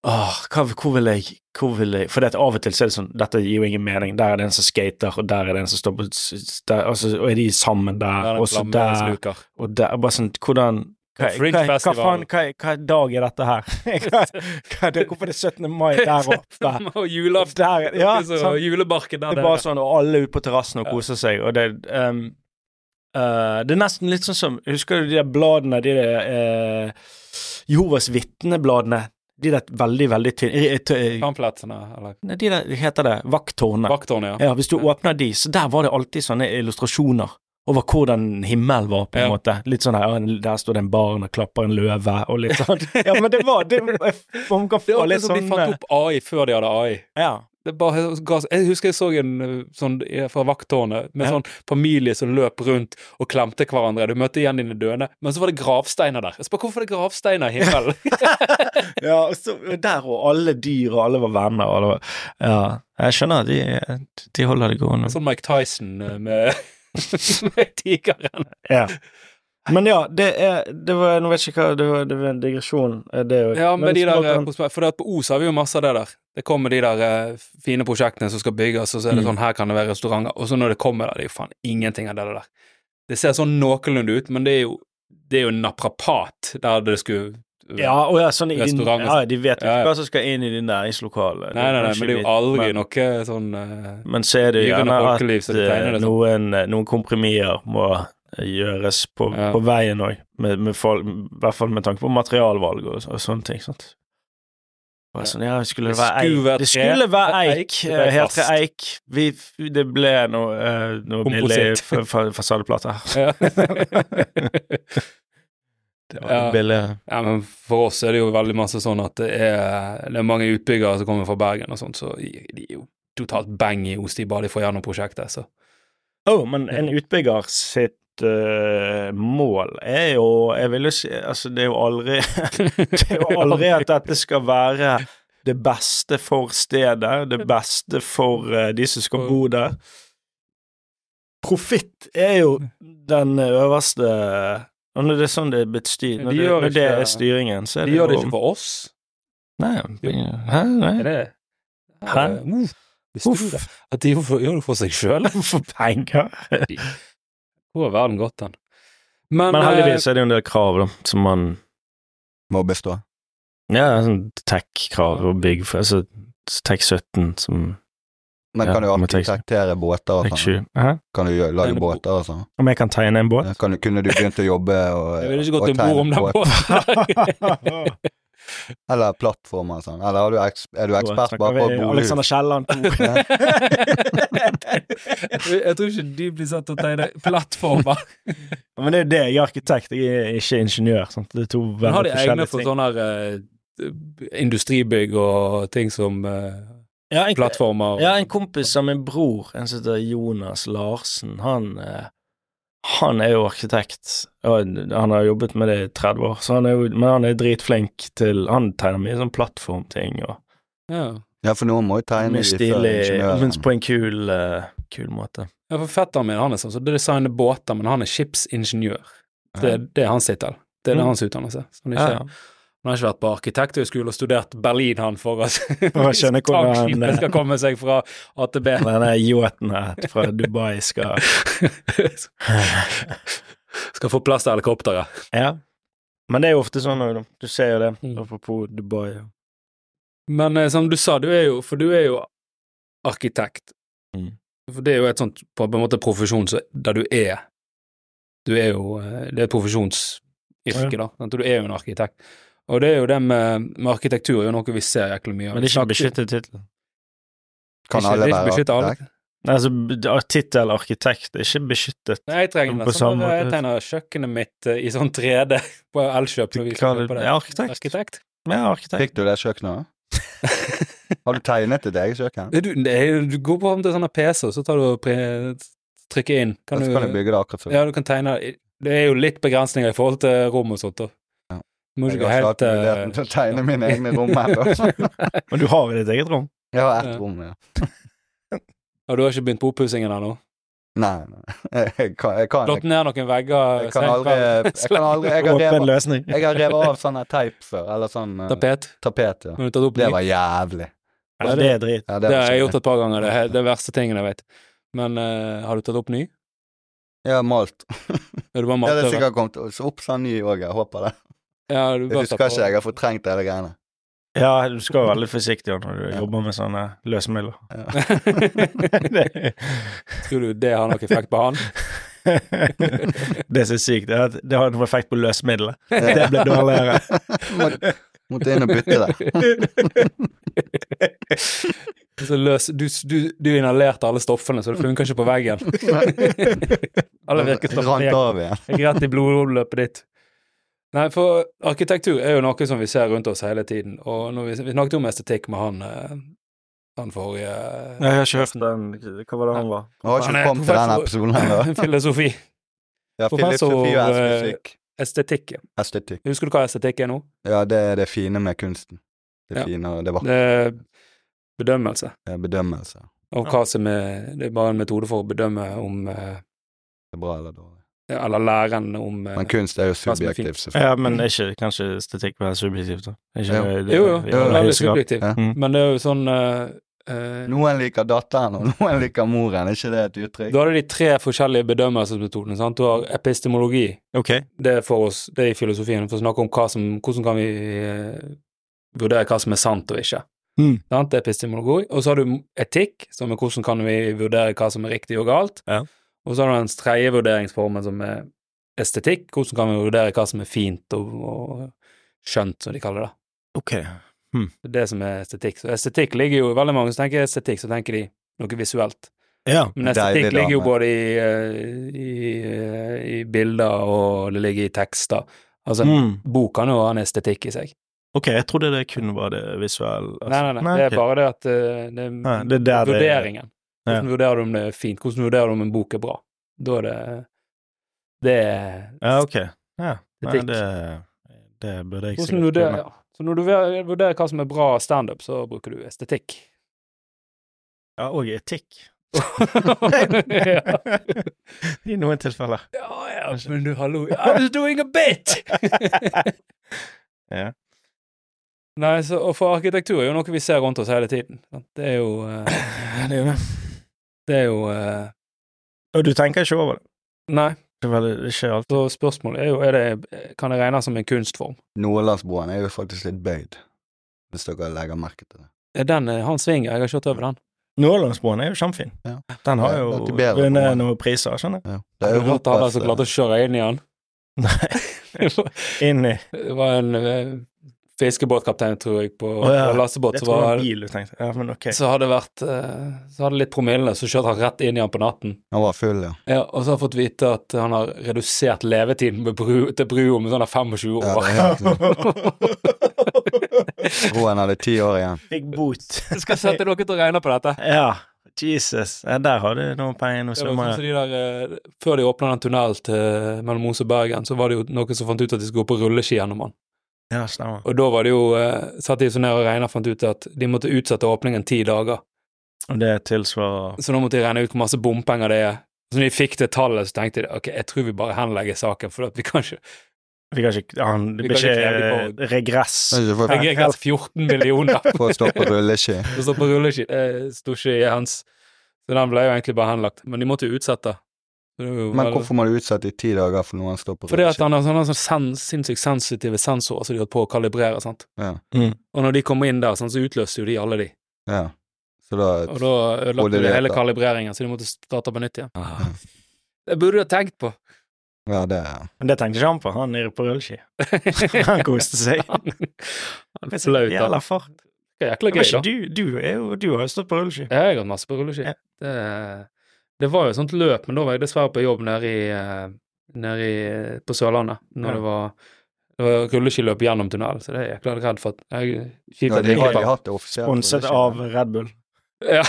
Åh, hva, hvor vil jeg hvor vil jeg, For det at av og til så er det sånn Dette gir jo ingen mening. Der er det en som skater, og der er det en som står på s- s- der, altså, Og er de sammen
Der
der,
er
og
det
så der
flammeluker.
og det er bare sånn, hvordan hva,
Det er
hva,
Fringe
hva,
Festival.
faen, hva, hva dag er dette her? hva, hva, det, hvorfor er det 17. mai der oppe?
Og julaften.
Der, ja,
Ikke så
sant?
Julebarken der
Det er bare sånn, og alle er ute på terrassen og koser seg, og det ehm, eh, Det er nesten litt sånn som Husker du de der bladene, de der eh, Jehovas vitnebladene? De der veldig, veldig tynne eh, tø-
Kamplettene, eller
Nei, de der heter det vakttårnene.
vakttårnet, ja.
Ja, hvis du åpner de, så der var det alltid sånne illustrasjoner over hvordan himmelen var, på en
Ja.
måte. Litt sånn her, ja, der står det en barn og klapper en løve, og litt sånn. Ja, men det var det, Man kan
Det
få
var
litt
liksom de
sånn eh,
fant opp AI før de hadde AI.
Ja.
Det bare, ga- jeg husker jeg så en eh, sånn i- fra vakttårnet med
Ja.
sånn familie som løp rundt og klemte hverandre. Du møtte igjen dine døende, men så var det gravsteiner der. Jeg spør, Hvorfor er det gravsteiner i himmelen?
ja og så, og der og alle dyr, og alle var venner, og alle var Ja. Jeg skjønner, de, de holder det gående.
sånn Mike Tyson eh, med, med tigeren.
Ja. Men ja, det er det var, Nå vet jeg ikke hva Det var, det var en digresjon. eh, Det sånn- er jo
Ja, med
men
de
så
der,
kan-
eh, prospe- for det at på O så har vi jo masse av det der. Det kommer de der eh, fine prosjektene som skal bygges, og så er det
Mm.
sånn her kan det være restauranter, og så når det kommer der, det er jo faen ingenting av det der. Det ser sånn noenlunde ut, men det er jo, det er jo en naprapat der det skulle
Ja, og ja, sånn i din,
Restaurant og
ja, de vet jo
Ja, ja.
ikke hva som skal inn i de næringslokalene.
Nei, nei, nei, men det er jo aldri
Men,
noe sånn eh,
men så er det jo
Dyrene
gjerne at
folkeliv, så de tegner
eh,
det sånn.
noen, noen komprimier må eh, gjøres på,
Ja.
på veien òg, med, med folk- i hvert fall med tanke på materialvalg og, og sånne ting. sant? Bare Sånn, ja, skulle det,
Det
være
skulle være
eik. det
tre,
skulle være
eik,
eik,
det ble
eh, helt til
plast.
eik. Vi, det ble noe, eh, noe billig
Kompositt.
fa- fa- fasadeplate her.
ja.
Det var
Ja.
billig.
ja, men for oss er det jo veldig masse sånn at det er, det er mange utbyggere som kommer fra Bergen og sånt, så de de er jo totalt bang i ost, de bare de får gjennom prosjektet, så
Oh, men en utbygger sitt eh, mål er jo Jeg vil jo si Altså, det er jo aldri Det er jo aldri at dette skal være det beste for stedet, det beste for eh, de som skal bo der. Profitt er jo den øverste Og når det er sånn det er blitt styrt,
De
når, det,
gjør
når det
ikke-
er styringen, så er
De
det
gjør det
jo-
ikke for oss.
Nei, hæ,
Er
nei.
det
Hæ?
Uh, Visste du det? At de gjør gjør det for seg sjøl?
For penger.
Hvor er verden gått hen? Men,
Men
eh,
heldigvis er det jo en del krav, da, som man
Må bestå.
Ja, sånn tech-krav og bygg Altså tech-17 som
Men
Ja,
kan du
men tenk-
arkitektere båter og sånn?
tech-7. Hæ?
Kan du gjøre- lage
Tegne bo-
båter og sånn?
Om jeg kan tegne en båt?
Ja, Kan, du- kunne du begynt å jobbe og,
jeg ville ikke
og
gått om bord om den båten.
Eller plattformer og sånn. Eller er du, eks er du ekspert
Snakker
bare på å
vi
bo
Alexander Kielland to.
Jeg tror- jeg tror ikke de blir satt til å tegne plattformer.
Men det er jo det, jeg er arkitekt, jeg er ikke ingeniør. Sant? Det er to
Men har de
veldig
egne
forskjellige
for
ting.
sånne her, eh, industribygg og ting som eh,
Ja, en,
plattformer? og-
ja, en kompis av min bror, en som heter Jonas Larsen, han eh, han er jo arkitekt, og han har jobbet med det i 30 år, så han er jo, men han er dritflink til Han tegner mye sånn plattformting og
Ja.
Ja, for noen må jo tegne
mye
de før
stilig, men
ingeniøren.
eh, på en kul, eh, kul måte.
ja, for fetteren min han er sånn som designer båter, men han er skipsingeniør. Det, er- det er hans tittel. Det er det
Mm.
hans utdannelse. Så han, er
Ja,
ikke,
ja.
han har ikke vært på arkitekthøgskole og studert Berlin, han, for at
For å skjønne hvordan han, eh,
tankskipet skal komme seg fra A til B.
Denne yachten her fra Dubai skal
skal få plass til helikopteret.
Ja. Men det er jo ofte sånn òg, da. Du ser jo det.
Mm.
Apropos Dubai. ja.
Men eh, som du sa, du er jo For du er jo arkitekt.
Mm.
For det er jo et sånt på en måte profesjon så- der du er Du er jo eh, Det er et profesjonsyrke, da. Sant? Du er jo en arkitekt. Og det er jo det med, med arkitektur er jo noe vi ser jæklig mye av.
Men det er ikke en
Snakk-
beskyttet tittel.
Kan
ikke-
alle
det er ikke
være
beskyttet alle.
arkitekt?
Altså, b- tittel arkitekt er ikke beskyttet.
Nei, jeg trenger
På
det. Sånn,
samme
når jeg
måte.
tegner kjøkkenet mitt eh, i sånn 3D på Elkjøp. når vi skal
Hva er det-
kjøpe det.
Ja, arkitekt.
Arkitekt.
Ja, arkitekt.
Fikk du det kjøkkenet? Har du tegnet ditt eget kjøkken?
Du, nei, du går på til sånne PC, og så tar du og pre- trykker inn.
Så kan du bygge det akkurat sånn.
Ja, du kan tegne Det er jo litt begrensninger i forhold til rom og sånt, da.
Ja.
Må
Jeg
ikke
har ikke
helt
hatt muligheten til å tegne mine egne rom ennå.
eh,
Men du har jo ditt eget rom.
Jeg har ett
Ja.
rom, ja.
Og du har ikke begynt på oppussingen ennå?
Nei, nei. Jeg kan, jeg kan,
Slått ned noen vegger?
jeg kan aldri Jeg kan aldri Jeg har
Åpen
revet,
løsning.
jeg har revet av sånne teip før, eller sånn eh,
Tapet?
tapet, ja.
Når du tatt opp
Det
ny?
var jævlig.
Ja, det er drit.
Ja,
Det har jeg
var skikkelig.
gjort et par ganger, det er den verste tingen jeg vet. Men eh, har du tatt opp ny?
Ja, malt.
Ja, du bare
Ja, det
malte
er sikkert kommet opp sånn ny òg, jeg håper det.
Ja, du
Jeg
bare
husker
tatt på.
ikke, jeg har fortrengt hele greiene.
Ja, du skal være veldig forsiktig når du
Ja.
jobber med sånne løsemidler.
Ja.
det,
Tror du det har noen effekt på han?
det som er sykt, er at det har noe effekt på løsemidlet. Det ble dårligere.
Må- Måtte inn og bytte det.
Så løs, du, du, du inhalerte alle stoffene, så det funka ikke på veggen. Alle virkestoffene
Rant
gikk,
av igjen.
gikk rett i blodomløpet ditt. Nei, for arkitektur er jo noe som vi ser rundt oss hele tiden, og når vi, vi snakket om estetikk med han eh, han forrige
Jeg har ikke hørt den. Hva var det han var?
Jeg
Han
har
er
ikke kommet til den
professor-
episoden ennå.
Filosofi.
Ja,
Professor,
filosofi og
eh,
estetikk.
Estetikk. ja.
Estetikk.
Husker du hva estetikk er nå?
Ja, det er det fine med kunsten. Det
Ja.
fine og det vakre.
Det er bedømmelse
Det er Bedømmelse.
av hva som er Det er bare en metode for å bedømme om eh,
Det er bra eller dårlig.
ja, Eller læren om eh,
Men kunst er jo
som er fint.
subjektiv, selvfølgelig.
Ja, men er ikke kanskje estetikk være subjektivt, da? Er Ikke,
Jo.
det-
Jo, jo,
i
det er
aller
veldig
høyeste grad.
subjektivt.
Ja.
Mm.
Men det er jo sånn eh, eh,
Noen liker datteren, og noen liker moren. Er ikke det et uttrykk?
Da er det de tre forskjellige bedømmelsesmetodene. sant? Du har epistemologi.
Ok.
Det er for oss, det er i filosofien, for å snakke om hva som, hvordan kan vi eh, vurdere hva som er sant og ikke.
Mm.
Sant? Det er epistemologi. Og så har du etikk, som er hvordan kan vi vurdere hva som er riktig og galt.
Ja.
Og så har du den tredje vurderingsformen, som er estetikk. Hvordan kan vi vurdere hva som er fint og, og skjønt, som de kaller det.
Ok.
Det er det som er estetikk. Så estetikk ligger jo Veldig mange som tenker estetikk, så tenker de noe visuelt.
Ja.
Men
Deilig
estetikk ligger jo
dame.
både i, eh, i, eh, i bilder, og det ligger i tekster. Altså,
Mm.
bok kan jo ha en estetikk i seg.
Ok, jeg trodde det kun var det visuelle. altså.
nei, nei, nei, Det
ok.
er bare det at eh, det er,
Nei, det er der det-
vurderingen.
Ja.
Hvordan vurderer du om det er fint? Hvordan vurderer du om en bok er bra? Da er det Det er
Ja, ok. Ja. Nei,
Etikk.
det, det burde jeg
Hvordan
sikkert
vurderer
kunne.
ja. Så når du vurderer- vurderer hva som er bra standup, så bruker du estetikk.
Ja, og etikk.
ja.
I noen tilfeller.
Ja, ja, men du, hallo, I was doing a bit!
Ja.
Nei, så, og for arkitektur er jo noe vi ser rundt oss hele tiden. sant? Det er jo eh,
Det er jo det.
Det er jo eh,
Og du tenker ikke over det.
Nei,
Det er veldig- det skjer alltid.
så spørsmålet er jo er det, Kan det regnes som en kunstform?
Nordlandsbroen er jo faktisk litt bøyd, hvis dere legger merke til det.
Er Den eh, han svinger, jeg har kjørt over den.
Nordlandsbroen er jo kjempefin.
Ja.
Den har
Det er
jo
alltid bedre på
vunnet
den.
noen priser, skjønner
Ja. Det
Det
er
er rart han der
Europas
som klarte å kjøre inn i han.
jeg. Nei,
det
inni.
var en eh, fiskebåtkaptein, tror jeg, på
Å, ja.
på lassebåt
Jeg
som
tror det var
var
en bil du tenkte. Ja, men ok.
Så hadde vært eh, Så hadde litt promille, så kjørte han rett inn i han på natten.
Han var full, ja.
Ja, og så har jeg fått vite at han har redusert levetiden med bru, til brua med sånn der 25
ja
år.
det er helt- Broen hadde ti år igjen.
Fikk bot.
Jeg skal sette dere til å regne på dette.
Ja, Jesus. Ja, der har du noen penger, noen
Altså,
Det var sånn som
summer.
de der, eh, før de åpna den tunnelen til eh, mellom Os og Bergen, så var det jo noen som fant ut at de skulle gå på rulleski gjennom den.
Ja, stemmer.
Og da var det jo eh, satt de så ned og regna fant ut at de måtte utsette åpningen ti dager.
Og det tilsvarer
Så nå måtte de regne ut hvor masse bompenger det er. Så når de fikk det tallet, så tenkte de ok, jeg tror vi bare henlegger saken, for at vi kan ikke
Vi kan ikke han, Det
Vi
blir
kan ikke kreve
ikke eh, regress.
Men ikke for-
Jeg er greit 14 millioner.
For å stå på rulleski.
Det står på rulleski. Det sto ikke i hans. Så den ble jo egentlig bare henlagt. Men de måtte jo utsette. Så det var jo
Men
vel-
hvorfor må du utsette i ti dager for noe han står på
Fordi at
rulleski?
han har sånne, sånne sen, sinnssykt sensitive sensorer som de holdt på å kalibrere. sant?
Ja.
Mm.
Og når de kom inn der, sant, så utløste jo de alle de.
Ja. Så da
Og da
Og
ødelagte
det
de
vet
hele
jeg.
kalibreringen, så de måtte starte på nytt igjen.
Ah.
Det burde du ha tenkt på!
Ja, det er
Men det tenkte ikke han på, han nede på rulleski. Han koste seg.
Han han er flaut.
Jævla
da.
fart.
Det er Jækla
Men
gøy, da.
ikke du, du, er jo, du har jo stått på rulleski.
Jeg har gått masse på rulleski.
Ja.
Det, det var jo et sånt løp, men da var jeg dessverre på jobb nede i, eh, nede i eh, på Sørlandet. Når
Ja.
det var, det var rulleskiløp gjennom tunnelen, så det er jeg jækla redd for at jeg, Kjipt
ja,
at
de,
jeg
har, de
hopper.
har hatt det offisielt.
Sponset
rulleski.
av Red Bull.
Ja.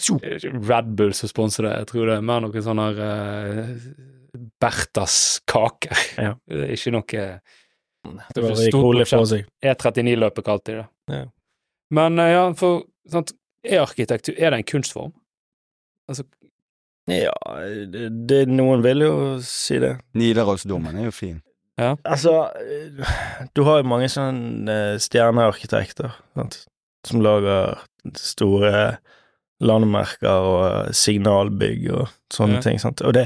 Tjo.
Red Bull som sponser det, jeg tror det er mer noen sånne her eh, Berthas kaker.
Ja.
Det er ikke noe
Det var Erik Holie på seg.
E39-løpet kalte de det.
Ja.
Men eh, ja, for sant, er arkitektur Er det en kunstform?
Ja, det, det, noen vil jo si det.
Nidarosdomen er jo fin.
Altså, eh, du har jo mange sånne eh, stjernearkitekter sant? som lager store landemerker og eh, signalbygg og sånne
Ja.
ting. Sant? Og det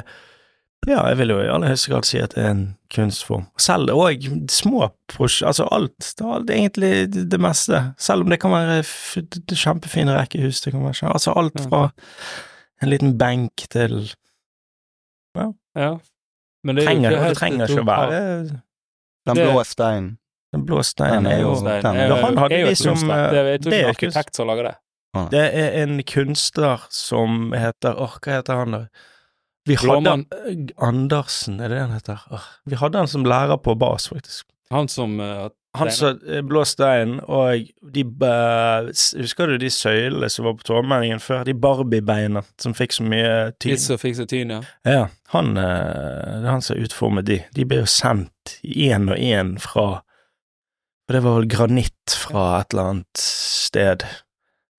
Ja, jeg vil jo i aller høyeste grad si at det er en kunstform. Selv òg små prosjekter Altså alt. Det er alt, egentlig det det meste. Selv om det kan være f det er kjempefine rekkehus. Det kan være, kjempe- altså alt
Ja.
fra en liten benk til
Ja. Men det er jo
trenger,
ikke helt-
Det trenger ikke å være
Den
Det-
blå steinen.
Den blå steinen
Den er
er jo
jo-
Nei,
den-
det er
Ja, han hadde
det er jo et
de som,
kunstverk. Det er, jeg tror ikke
det
det
er
er
kunst.
arkitekt som lager det.
Det er en kunstner som heter Åh, hva heter han da? Vi hadde
Blåmann.
Andersen, er det han heter? Åh, vi hadde han som lærer på bas, faktisk.
Han som eh,
Han
Steiner.
som eh, blå stein, og de eh, s- Husker du de søylene som var på Torvmeldingen før? De Barbie-beina som fikk så mye
Litt
tid.
som fikser tyn, ja.
Ja, han, eh, det er han som utformet de. De ble jo sendt én og én fra Og det var vel granitt fra et eller annet sted,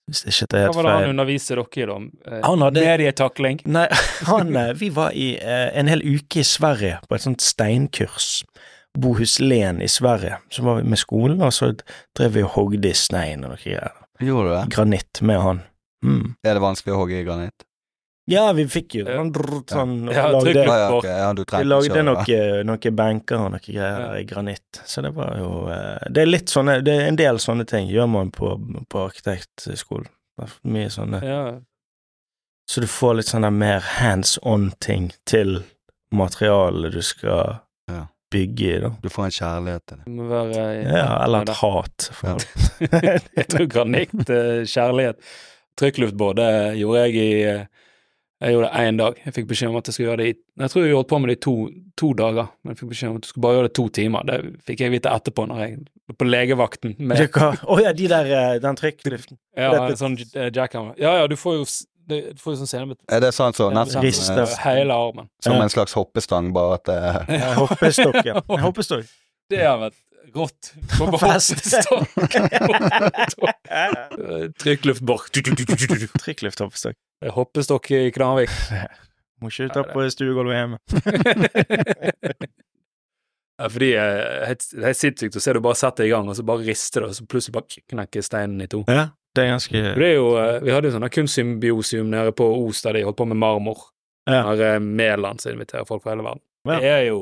hvis ikke det er
Hva
helt
var det han
feil.
underviste dere i, da? Eh,
Han hadde-
Medietakling.
Nei, han, eh, vi var i eh, en hel uke i Sverige på et sånt steinkurs. Bo Huslen i Sverige. Så var vi med skolen, og så drev vi og hogde i stein og noe greier.
Gjorde du det?
Granitt med han. Mm.
Er det vanskelig å hogge i granitt?
Ja, vi fikk jo sånn, sånn og
Ja,
lagde,
trykk.
Ja, ja,
for-
ok, ja, du
Vi
trengte
lagde
selv, da.
noen noe benker og noe greier
Ja.
i granitt. Så det var jo eh, Det er litt sånne Det er en del sånne ting gjør man på, på arkitektskolen. Det er Mye sånne
Ja.
Så du får litt sånne mer hands on-ting til materialet du skal
Ja.
bygge i, da.
Du får en kjærlighet til det.
Det må være eh,
Ja, eller
med
et
det.
hat.
Ja.
For
Jeg tror granitt, eh, kjærlighet, trykkluftbåt, det gjorde jeg i eh, Jeg gjorde det én dag. Jeg fikk beskjed om at jeg skulle gjøre det i Jeg tror jeg holdt på med det i to, to dager, men jeg fikk beskjed om at du skulle bare gjøre det to timer. Det fikk jeg vite etterpå, når jeg var på legevakten. Med,
Du kan- Å ja, de der, eh, den trykkluften.
ja,
dette-
en sånn eh, jackhammer. Ja, ja, du får jo, s- det- du får jo sånn senebetennelse.
Er det sånn så, nesten
Rister.
eh,
Hele armen.
som en slags hoppestang, bare at det
Eh, Hoppestokk, ja. En Hoppestokk.
Det har vært rått. På
Fest.
hoppestokk. Trykkluftbord.
Trykklufthoppestokk.
Hoppestokk i Knarvik.
Må ikke ta på stuegulvet hjemme.
Ja, fordi eh, helt- Det er helt sinnssykt å se du bare setter i gang, og så bare rister det, og så plutselig bare knekker steinen i to.
Ja, det
Og
er
Det
ganske
er jo, eh, vi hadde jo sånne kunstsymbiosium nede på Os, der de holdt på med marmor.
Ja.
Der eh, Mæland som inviterer folk fra hele verden.
Ja.
Det er jo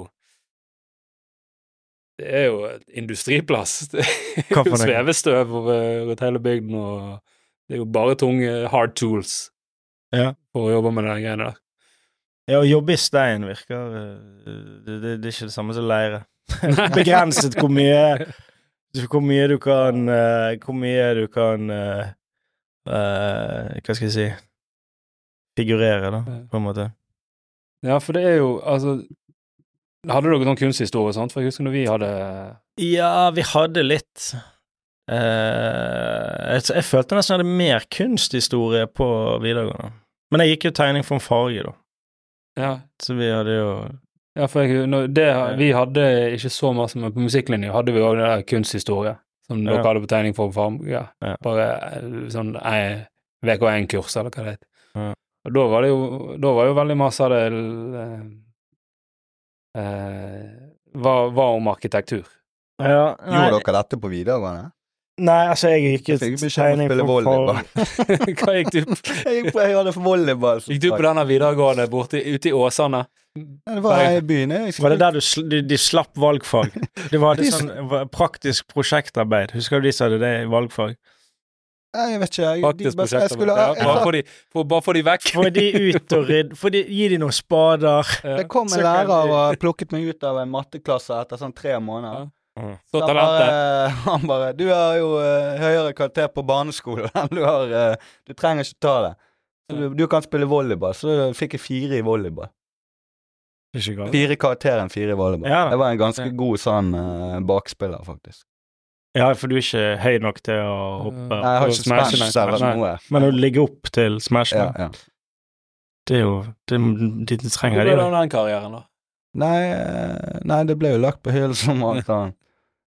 Det er jo et industriplass. Det er
Hva
jo
for noe?
svevestøv over- rundt hele bygden, og det er jo bare tunge hard tools
Ja.
for å jobbe med de greiene der.
Ja, å jobbe i stein virker eh, det, det, det er ikke det samme som leire. Begrenset hvor mye Så Hvor mye du kan eh, Hvor mye du kan eh, eh, Hva skal jeg si Figurere, da, på en måte.
Ja, for det er jo Altså Hadde dere sånn kunsthistorie og sånt? For jeg husker når vi hadde
Ja, vi hadde litt eh, jeg, jeg følte nesten jeg hadde mer kunsthistorie på videregående. Men jeg gikk jo tegning for en farge, da.
Ja,
Så vi hadde jo
ja for jeg, når det, vi hadde ikke så masse, men på musikklinja hadde vi òg det der kunsthistorie, som dere
Ja.
hadde på tegning for farm. Ja.
Ja.
Bare eh, sånn eh, VK1-kurs, eller hva det heter.
Ja.
Og da var det jo Da var jo veldig masse av det eh, eh, var, var om arkitektur.
ja, nei,
Gjorde dere dette på videregående?
nei, altså, jeg gikk jo
Jeg fikk beskjed om å spille volleyball.
Hva gikk du på?
Jeg gikk på, jeg hadde volleyball. som
Gikk du på
sagt.
denne videregående borte ute i Åsane?
Ja, det var her i byen. Jeg
Var det der du sl de, de slapp valgfag? Det var det sånn var praktisk prosjektarbeid. Husker du de som hadde det i valgfag?
Nei, jeg vet ikke. Jeg, de
Faktisk
bare- jeg
prosjekter.
skulle,
Ja,
jeg,
bare få de- for- Bare få de vekk.
Få de ut og rydde Få de, gi de noen spader.
det kom
Så
en
kan
lærer
de-
og plukket meg ut av en matteklasse etter sånn tre måneder.
Så
Da
talentet.
bare, han bare 'Du har jo eh, høyere karakter på barneskolen enn du har eh, Du trenger ikke ta det. Så du, du kan spille volleyball.' Så fikk jeg fire i volleyball.
Ikke galt.
Fire karakterer enn fire i volleyball.
Ja.
Jeg var en ganske
Ja.
god sånn eh, bakspiller, faktisk.
Ja, for du er ikke høy nok til å hoppe.
Nei, jeg har
og
ikke
smash,
smash
nei,
eller
nei.
noe.
Men å legge opp til smash,
Ja,
da,
ja.
det er jo Det, de
Hvor
trenger
ble det
det jo.
av den karrieren, da?
Nei, eh, nei, det ble jo lagt på hyllen som alt annet.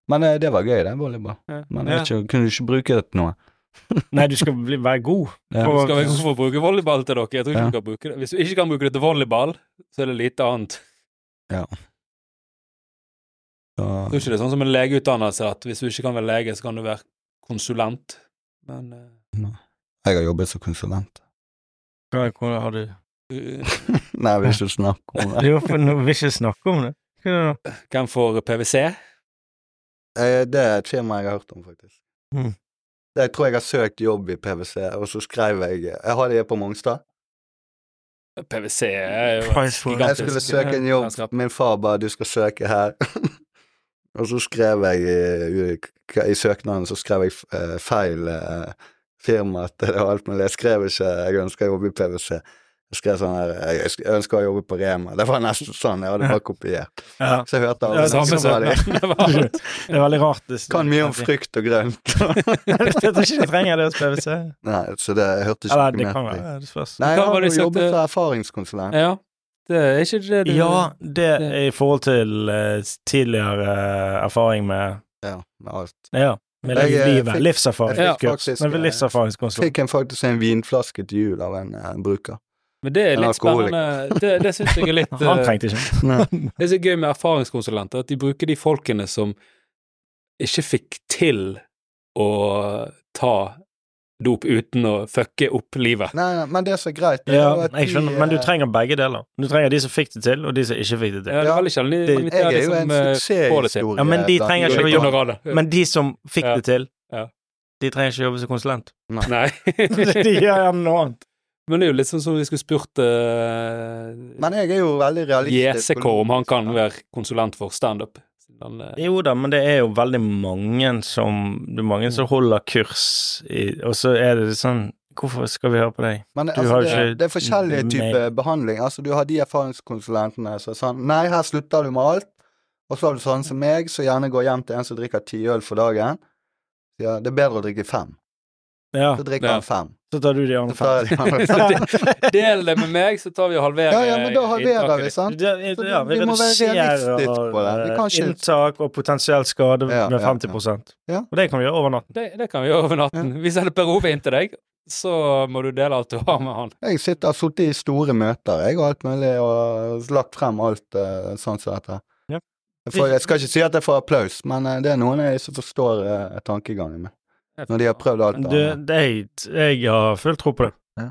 Men eh, det var gøy, det, volleyball.
Ja.
Men jeg vet ikke, kunne du ikke bruke det til noe?
Nei, du skal bli, være god.
Ja.
Du
Og-
skal vel få bruke volleyball til dere. Jeg tror ikke
Ja.
du kan bruke det. Hvis du ikke kan bruke det til volleyball, så er det lite annet. Jeg
Så,
tror ikke det er sånn som en legeutdannelse, at hvis du ikke kan være lege, så kan du være konsulent. Men eh,
jeg har jobbet som konsulent.
Hva- hvordan har du
uh,
Nei, jeg vil ikke snakke om det.
Jo, for nå vil jeg ikke snakke om det. Hva er det da?
hvem får PwC?
Eh, Det er et firma jeg har hørt om, faktisk.
Mm.
Det- Jeg tror jeg har søkt jobb i PwC, og så skrev jeg Jeg har det på Mongstad.
PwC er jo et
Price for-
gigantisk-
Jeg skulle søke en jobb,
Selskap.
min far bare 'du skal søke her'. og så skrev jeg i, i- i søknaden så skrev jeg eh, feil eh, firma til det og alt mulig. Jeg skrev ikke 'jeg ønsker å jobbe i PwC'. Jeg skrev sånn her 'jeg ønsker- jeg ønsker å jobbe på Rema'. Det var nesten sånn, jeg hadde bare kopiert.
Ja,
Så jeg hørte
Ja,
alle
Samme
som var de
søknad. Det var alt.
det er veldig rart. Det,
kan mye om frukt og grønt.
jeg tror ikke de trenger det hos PwC.
Nei, så det jeg hørte ikke
Eller, det
noe
kan
mer til.
være. Ja, det spørs.
Nei, jeg
Hva
har
var det de
jo
søkte?
jobbet som erfaringskonsulent.
Ja, det er ikke det du
Ja, det er i forhold til eh, tidligere eh, erfaring med
Ja, med alt.
Ja, med
Jeg, eh,
livet.
fikk-
Livserfaring.
jeg fikk
kurs.
faktisk,
Men med
eh,
livserfaringskonsulent.
Fikk en faktisk en vinflaske til jul av en eh, bruker.
Men det er
En
litt
alkoholiker.
spennende. Det, det syns jeg er litt
Han
eh,
trengte ikke
Det er så gøy med erfaringskonsulenter, at de bruker de folkene som ikke fikk til å ta dop uten å fucke opp livet.
Nei, nei, men det som er greit det er
ja,
jo at
jeg
de,
skjønner, men du
eh,
trenger begge deler. Du trenger de som fikk det til, og de som ikke fikk det til.
Ja, det er veldig sjelden de
det-
Jeg
inviterer
er jo en
liksom eh, får det til.
suksesshistorie.
Ja, men de
blant-
trenger ikke å
litt
jobbe-
under radar.
Men de som fikk
Ja.
det til,
Ja.
de trenger ikke jobbe som konsulent.
Nei.
de gjør gjerne noe annet.
Men det er jo litt sånn som vi skulle spurt eh,
Men jeg er jo veldig realistisk.
JCK om han kan være konsulent for standup. Han, eh,
Jo da, men det er jo veldig mange som Det er
Mm.
mange som holder kurs, i, og så er det sånn Hvorfor skal vi høre på deg?
Men
Du
altså,
har
det,
ikke- Mm,
det er forskjellige typer behandling. Altså, du har de erfaringskonsulentene som er sånn Nei, her slutter du med alt. Og så har du sånn som meg, som gjerne går hjem til en som drikker ti øl for dagen. Ja, det er bedre å drikke fem.
Ja,
Så drikker
Ja.
han fem.
så tar du de
Så
andre
tar
fem.
jeg de andre fem.
Så Del det med meg, så tar vi og halverer
Ja, ja, men da halverer
inntaket
vi,
ditt.
sant?
Ja,
Så vi-
ja, vi
vi må være
reduserer
realistiske på det. Vi kan
eh,
ikke-
inntak og potensiell skade
Ja,
med
ja,
50
ja.
Og det kan vi gjøre over natten.
Det, det kan vi gjøre over natten. Vi sender Per Ove inn til deg, så må du dele alt du har med han.
Jeg sitter, har sittet i store møter, jeg, og alt mulig, og lagt frem alt eh, sånn som dette.
Ja.
Jeg, får, jeg skal ikke si at jeg får applaus, men eh, det er noen jeg ikke forstår eh, tankegangen min. Når de har prøvd alt
Du,
det andre.
det, jeg har full tro på det.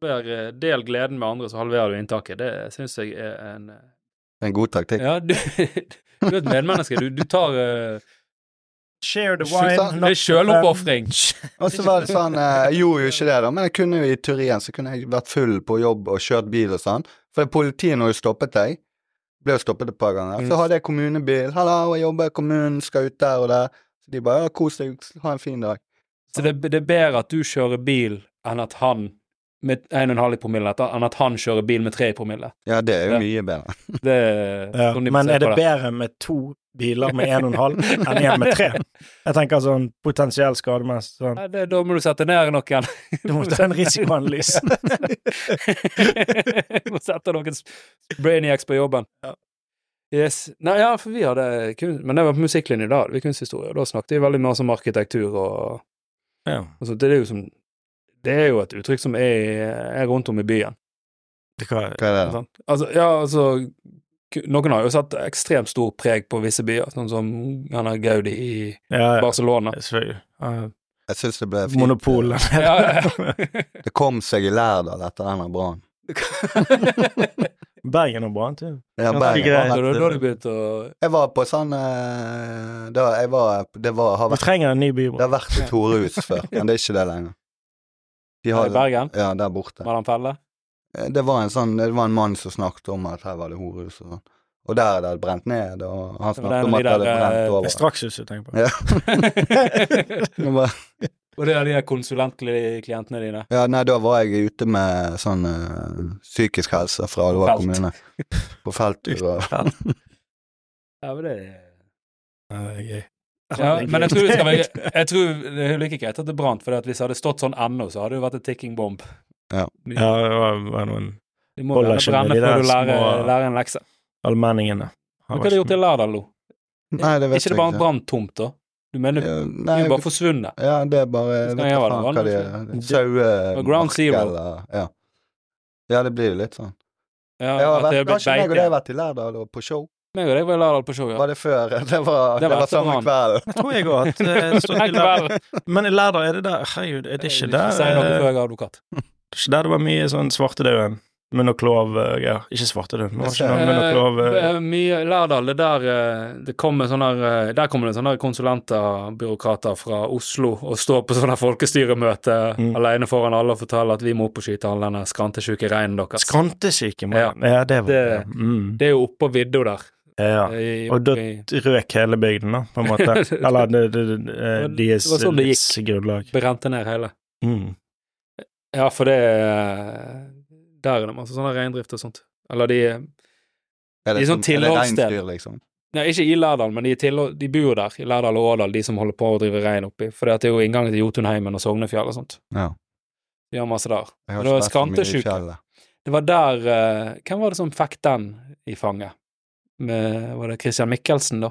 Der, eh, Del gleden med andre, så halverer du inntaket. Det syns jeg er en eh,
Det er en god taktikk.
Ja, du, du er et medmenneske. Du, du tar eh,
Share the
Slutt,
wine.
Det er sjøloppofring.
Og så var det sånn eh, Jeg gjorde jo ikke det, da, men jeg kunne jo i teorien så kunne jeg vært full på jobb og kjørt bil og sånn. For politiet når jo stoppet deg, ble jo stoppet et par ganger. Så hadde jeg kommunebil. 'Hallo, jeg jobber i kommunen, skal ut der og der.' Så de bare ja, 'Kos deg, ha en fin dag'.
Så det, det er bedre at du kjører bil enn at han med 1,5 i promille etter, enn at han kjører bil med 3 i promille.
Ja, det er jo
Ja.
mye bedre.
Det er
Ja,
sånn de
men
ser
er det
på
bedre med to biler med en og en halv enn en med tre? Jeg tenker sånn potensiell skademessig. Sånn.
Nei, det, da må du sette ned noen.
Du må ta en risikoanalyse.
Du må sette noen s- brainiacs på jobben.
Ja.
Yes. Nei, ja, for vi hadde kun- Men det var på musikklinje da, det var kunsthistorie, og da snakket vi veldig mye om arkitektur og,
Ja.
og sånt. Det er jo som Det er jo et uttrykk som er, er rundt om i byen.
Det kan-
Hva er det, da?
Sant? Altså, ja, altså ku- Noen har jo satt ekstremt stor preg på visse byer, sånn som han er Gaudi i
Ja, ja,
Barcelona.
selvfølgelig. Ja,
Jeg syns det ble fint.
Monopol.
Ja,
Det kom seg i Lærdal etter denne brannen.
ja.
Bergen og Brann, tror jeg.
Ja,
Ja,
Bergen
det er
Da
var-
da- da har du begynt å
Jeg var på sånn eh, da, jeg var, Det var, har
Vi
vært,
trenger en ny by.
det har vært i Torehus før, men det er ikke det lenger. De
I Bergen?
Ja, der borte.
Madam Felle?
Eh, Det var en sånn, det var en mann som snakket om at her var det horehus og sånn. Og der er det brent ned, og han
Det var den
snakket om at det
de
hadde
der, eh,
brent
Det er
over.
straks du tenker på.
Ja. Det var-
Og det er de her konsulentklientene dine.
Ja, nei, da var jeg ute med sånn eh, psykisk helse fra
På
Alva
felt.
kommune. På felttur og
Ja, men det er...
Ja, det er gøy.
Ja, men jeg tror, det skal være, jeg tror det er like greit at det brant, for hvis det hadde stått sånn ennå, så hadde det jo vært en ticking bomb.
Ja.
Ja, det var, var noen
Du må
Holder
gjerne
ikke
brenne
med de der
før du lærer,
små-
lærer en lekse.
Allmenningene.
Men Hva har de gjort i Lærdal nå?
Nei, det vet
Ikke det
jeg
bare
ikke.
brant tomt, da? Du mener
Ja,
de
Nei,
er bare forsvunnet?
ja, det er bare
Skal
jeg Vet
jeg
da
gjøre
faen
det?
hva det
Det-
er. Sauemark
Ground zero.
eller ja. ja, det blir jo litt sånn.
Ja,
Jeg har
at det
vært,
er blitt
kanskje meg og deg
beite?
har vært i Lærdal og på show.
Meg og deg var i Lærdal på show, ja.
Var det før? Det
Det
var, det
var
var samme
etterpå
kveld.
Det tror jeg òg at eh, det står
Nei,
til Lærdal. Men i Lærdal er det der Herregud, er det ikke der
Si noe
eh,
før jeg er advokat.
Det er ikke der det var mye sånn svartedauden? Munn og klov-greier. Ikke svartedauden, men det var ikke noe munn og klov eh,
Eh, mye Lærdal, det der eh, det kommer sånne, eh, Der kommer det sånne konsulenter, byråkrater fra Oslo, og står på sånne folkestyremøte
Mm.
alene foran alle og forteller at vi må opp og skyte all denne skrantesjuke reinen deres.
Skrantesyke, mann. Ja, det var det.
Det-
Mm.
det er jo oppå vidda der. eh,
Ja.
I-
Og da-
i
Røk hele bygden, da, på en måte. Eller det, det, det, eh,
Det
deres
var sånn det gikk.
livs grunnlag.
Brente ned hele.
Mm.
Ja, for det er- Der er det masse sånne reindrift og sånt. Eller de
Er
I sånn
som- er det
tilholdssted.
reinsdyr, liksom?
Nei, ikke i Lærdal, men de, er tilhå- de bor jo der, i Lærdal og Årdal, de som holder på å drive rein oppi. For det er jo inngangen til Jotunheimen og Sognefjell og sånt.
Ja.
De har masse der.
Jeg har
Det var
ikke vært så mye i
skrantesjuke.
fjellet.
Det var der eh, Hvem var det som fikk den i fanget? Med, var det Christian Michelsen, da?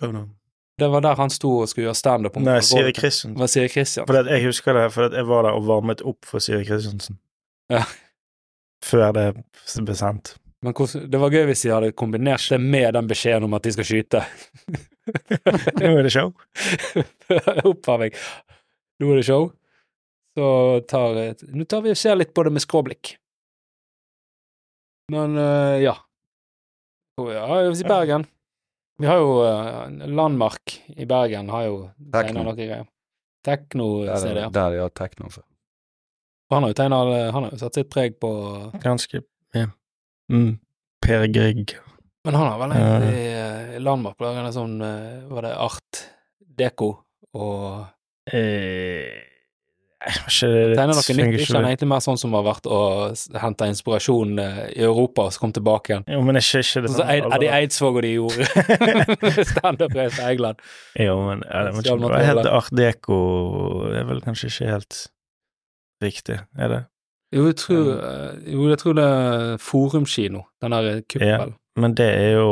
Det var der han sto og skulle gjøre standup. om-
Nei, Siri Kristiansen.
Det var Siri Christian.
For at jeg husker det, for at jeg var der og varmet opp for Siri Kristiansen.
Ja.
Før det ble sendt.
Men hvordan- det var gøy hvis de hadde kombinert det med den beskjeden om at de skal skyte.
Nå er det show.
Oppvarming. Nå er det show. Så tar jeg- Nå tar vi og ser litt på det med skråblikk. Men eh, ja. Oh, ja, hvis i Bergen Vi har jo eh, Landmark i Bergen har jo
Tekno.
tegna noe greier. Tekno,
Der
ser
er
det, ja.
det- Der de har altså. tekno før.
Han har jo tegnet- eh, Han har jo satt sitt preg på
Ganske ja. mm. Per Grieg.
Men han har vel
Ja.
egentlig eh, Landmark laget en sånn eh, Var det Art Deko og
Eh, ikke det litt-
Tegner noe nytt.
fungerer
Ikke han
det?
egentlig mer sånn som har vært å s- hente inspirasjon eh, i Europa, og så kom tilbake igjen.
Jo, men er ikke, ikke det
Sånn som Eid- Eddie Eidsvåg og de gjorde. Standup-reise til England.
Jo, men ja, det, må ikke,
Stjal
det er helt
materiale.
art deco Det er vel kanskje ikke helt riktig, er det?
Jo, jeg tror, eh, jo, jeg tror det er Forumkino, den der eh, kuppelen.
Men det er jo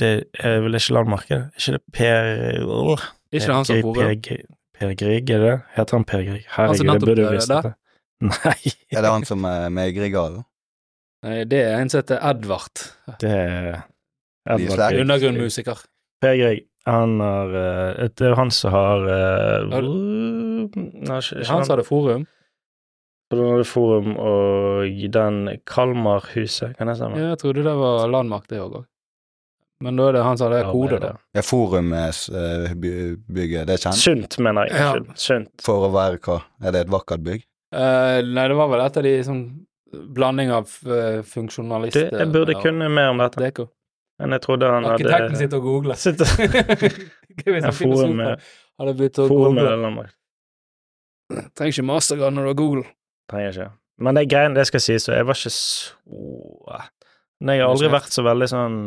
Det er vel ikke landmarkedet? Ikke det Per Åh,
Ikke det han som har
Grieg-
forum?
Per, Grieg- per Grieg, er det? Heter han Per Grieg?
Han som
Herregud, det
nettopp
burde
døde
du visst.
der?
dette. Nei,
Er det han som er med i Grieghallen?
Nei, det er en som heter Edvard.
det er
De
Edvard
slagger.
Grieg.
Undergrunnmusiker.
Per Grieg. Han har eh, Det er jo han som har eh,
Har
Nei, ikke,
Det er
ikke
han som
han.
hadde forum.
Han hadde forum og den Kalmarhuset, kan det stemme?
Ja, jeg trodde det var Landmark, det òg. Men da er det han som hadde
Ja,
kode,
det er
da.
det.
Ja, forumbygget, eh, det er kjent
Sunt, mener jeg.
Ja.
Unnskyld. Sunt.
for å være hva? Er det et vakkert bygg?
Eh, nei, det var vel et av de sånn blanding av uh,
Du,
funksjonalister
jeg burde kunne mer om dette,
Deko.
men jeg trodde han hadde
Arkitekten sitter og googler.
Sitter-
Gøy hvis
Ja,
han finner
forum,
sofaen.
eh,
Hadde begynt å
Forum
google.
eller Landmark.
Trenger ikke mastergrad når du har Google.
Trenger ikke. Men det er greiene det skal sies, så jeg var ikke så Men jeg har aldri vært så veldig sånn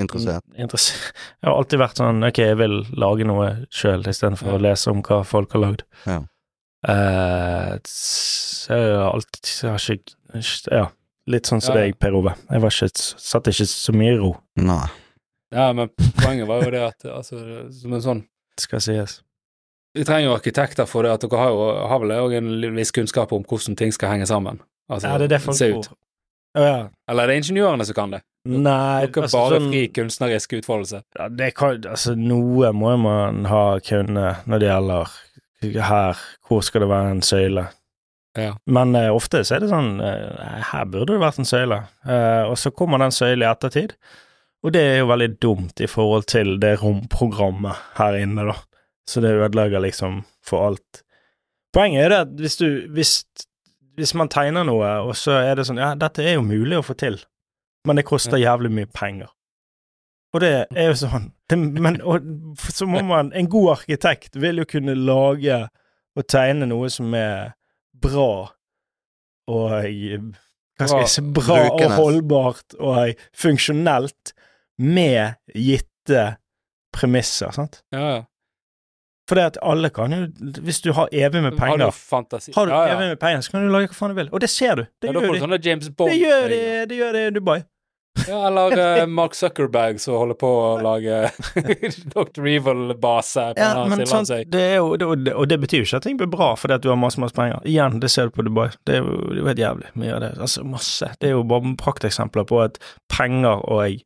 Interessert.
interessert Jeg har alltid vært sånn ok, jeg vil lage noe sjøl istedenfor
Ja.
å lese om hva folk har lagd.
Ja.
Eh, så jeg har alltid jeg har ikke, ikke- Ja. Litt sånn som
Ja, ja.
deg, Per Ove. Jeg var ikke, satt ikke så mye i ro,
Mm.
Nei.
Ja, men poenget var jo det at altså, som en sånn
skal sies.
Vi trenger jo arkitekter for det at dere har jo har vel òg en viss kunnskap om hvordan ting skal henge sammen. Altså,
Ja, det er det folk
se ut.
tror. Å ja.
Eller er det ingeniørene som kan det?
Nei,
Dere
altså,
bare
sånn-
fri kunstnerisk utfoldelse.
Ja, det kan, altså Noe må jo man ha kunne når det gjelder her, hvor skal det være en søyle?
Ja.
Men eh, ofte så er det sånn eh, nei, Her burde det vært en søyle, Eh, og så kommer den søylen i ettertid. Og det er jo veldig dumt i forhold til det romprogrammet her inne, da. Så det ødelegger liksom for alt. Poenget er det at hvis du hvis, hvis man tegner noe, og så er det sånn Ja, dette er jo mulig å få til, men det koster jævlig mye penger. Og det er jo sånn det, Men og, så må man En god arkitekt vil jo kunne lage og tegne noe som er bra og Hva skal jeg si Bra og
Brukende.
holdbart og funksjonelt med gitte premisser, sant?
Ja, ja.
For det at alle kan jo Hvis du har evig med
Mm, Har du
penger,
fantasi?
har du
ja, ja.
evig med penger, så kan du lage hva faen du vil. Og det ser du. Det
ja, da får
gjør
sånn
de.
du sånne James
Det gjør de,
Bond-øyne.
det gjør de i Dubai.
Ja, eller eh, Mark Zuckerberg som holder på å lage Dr. Evil-base på
Ja,
denne
men sånn- sant,
Silvansøy.
det er jo, det, og det- og det betyr jo ikke at ting blir bra fordi at du har masse masse penger. Igjen, det ser du på Dubai. Det er jo, det er jo helt jævlig. Vi gjør det. Altså, masse. Det er jo bare prakteksempler på at penger og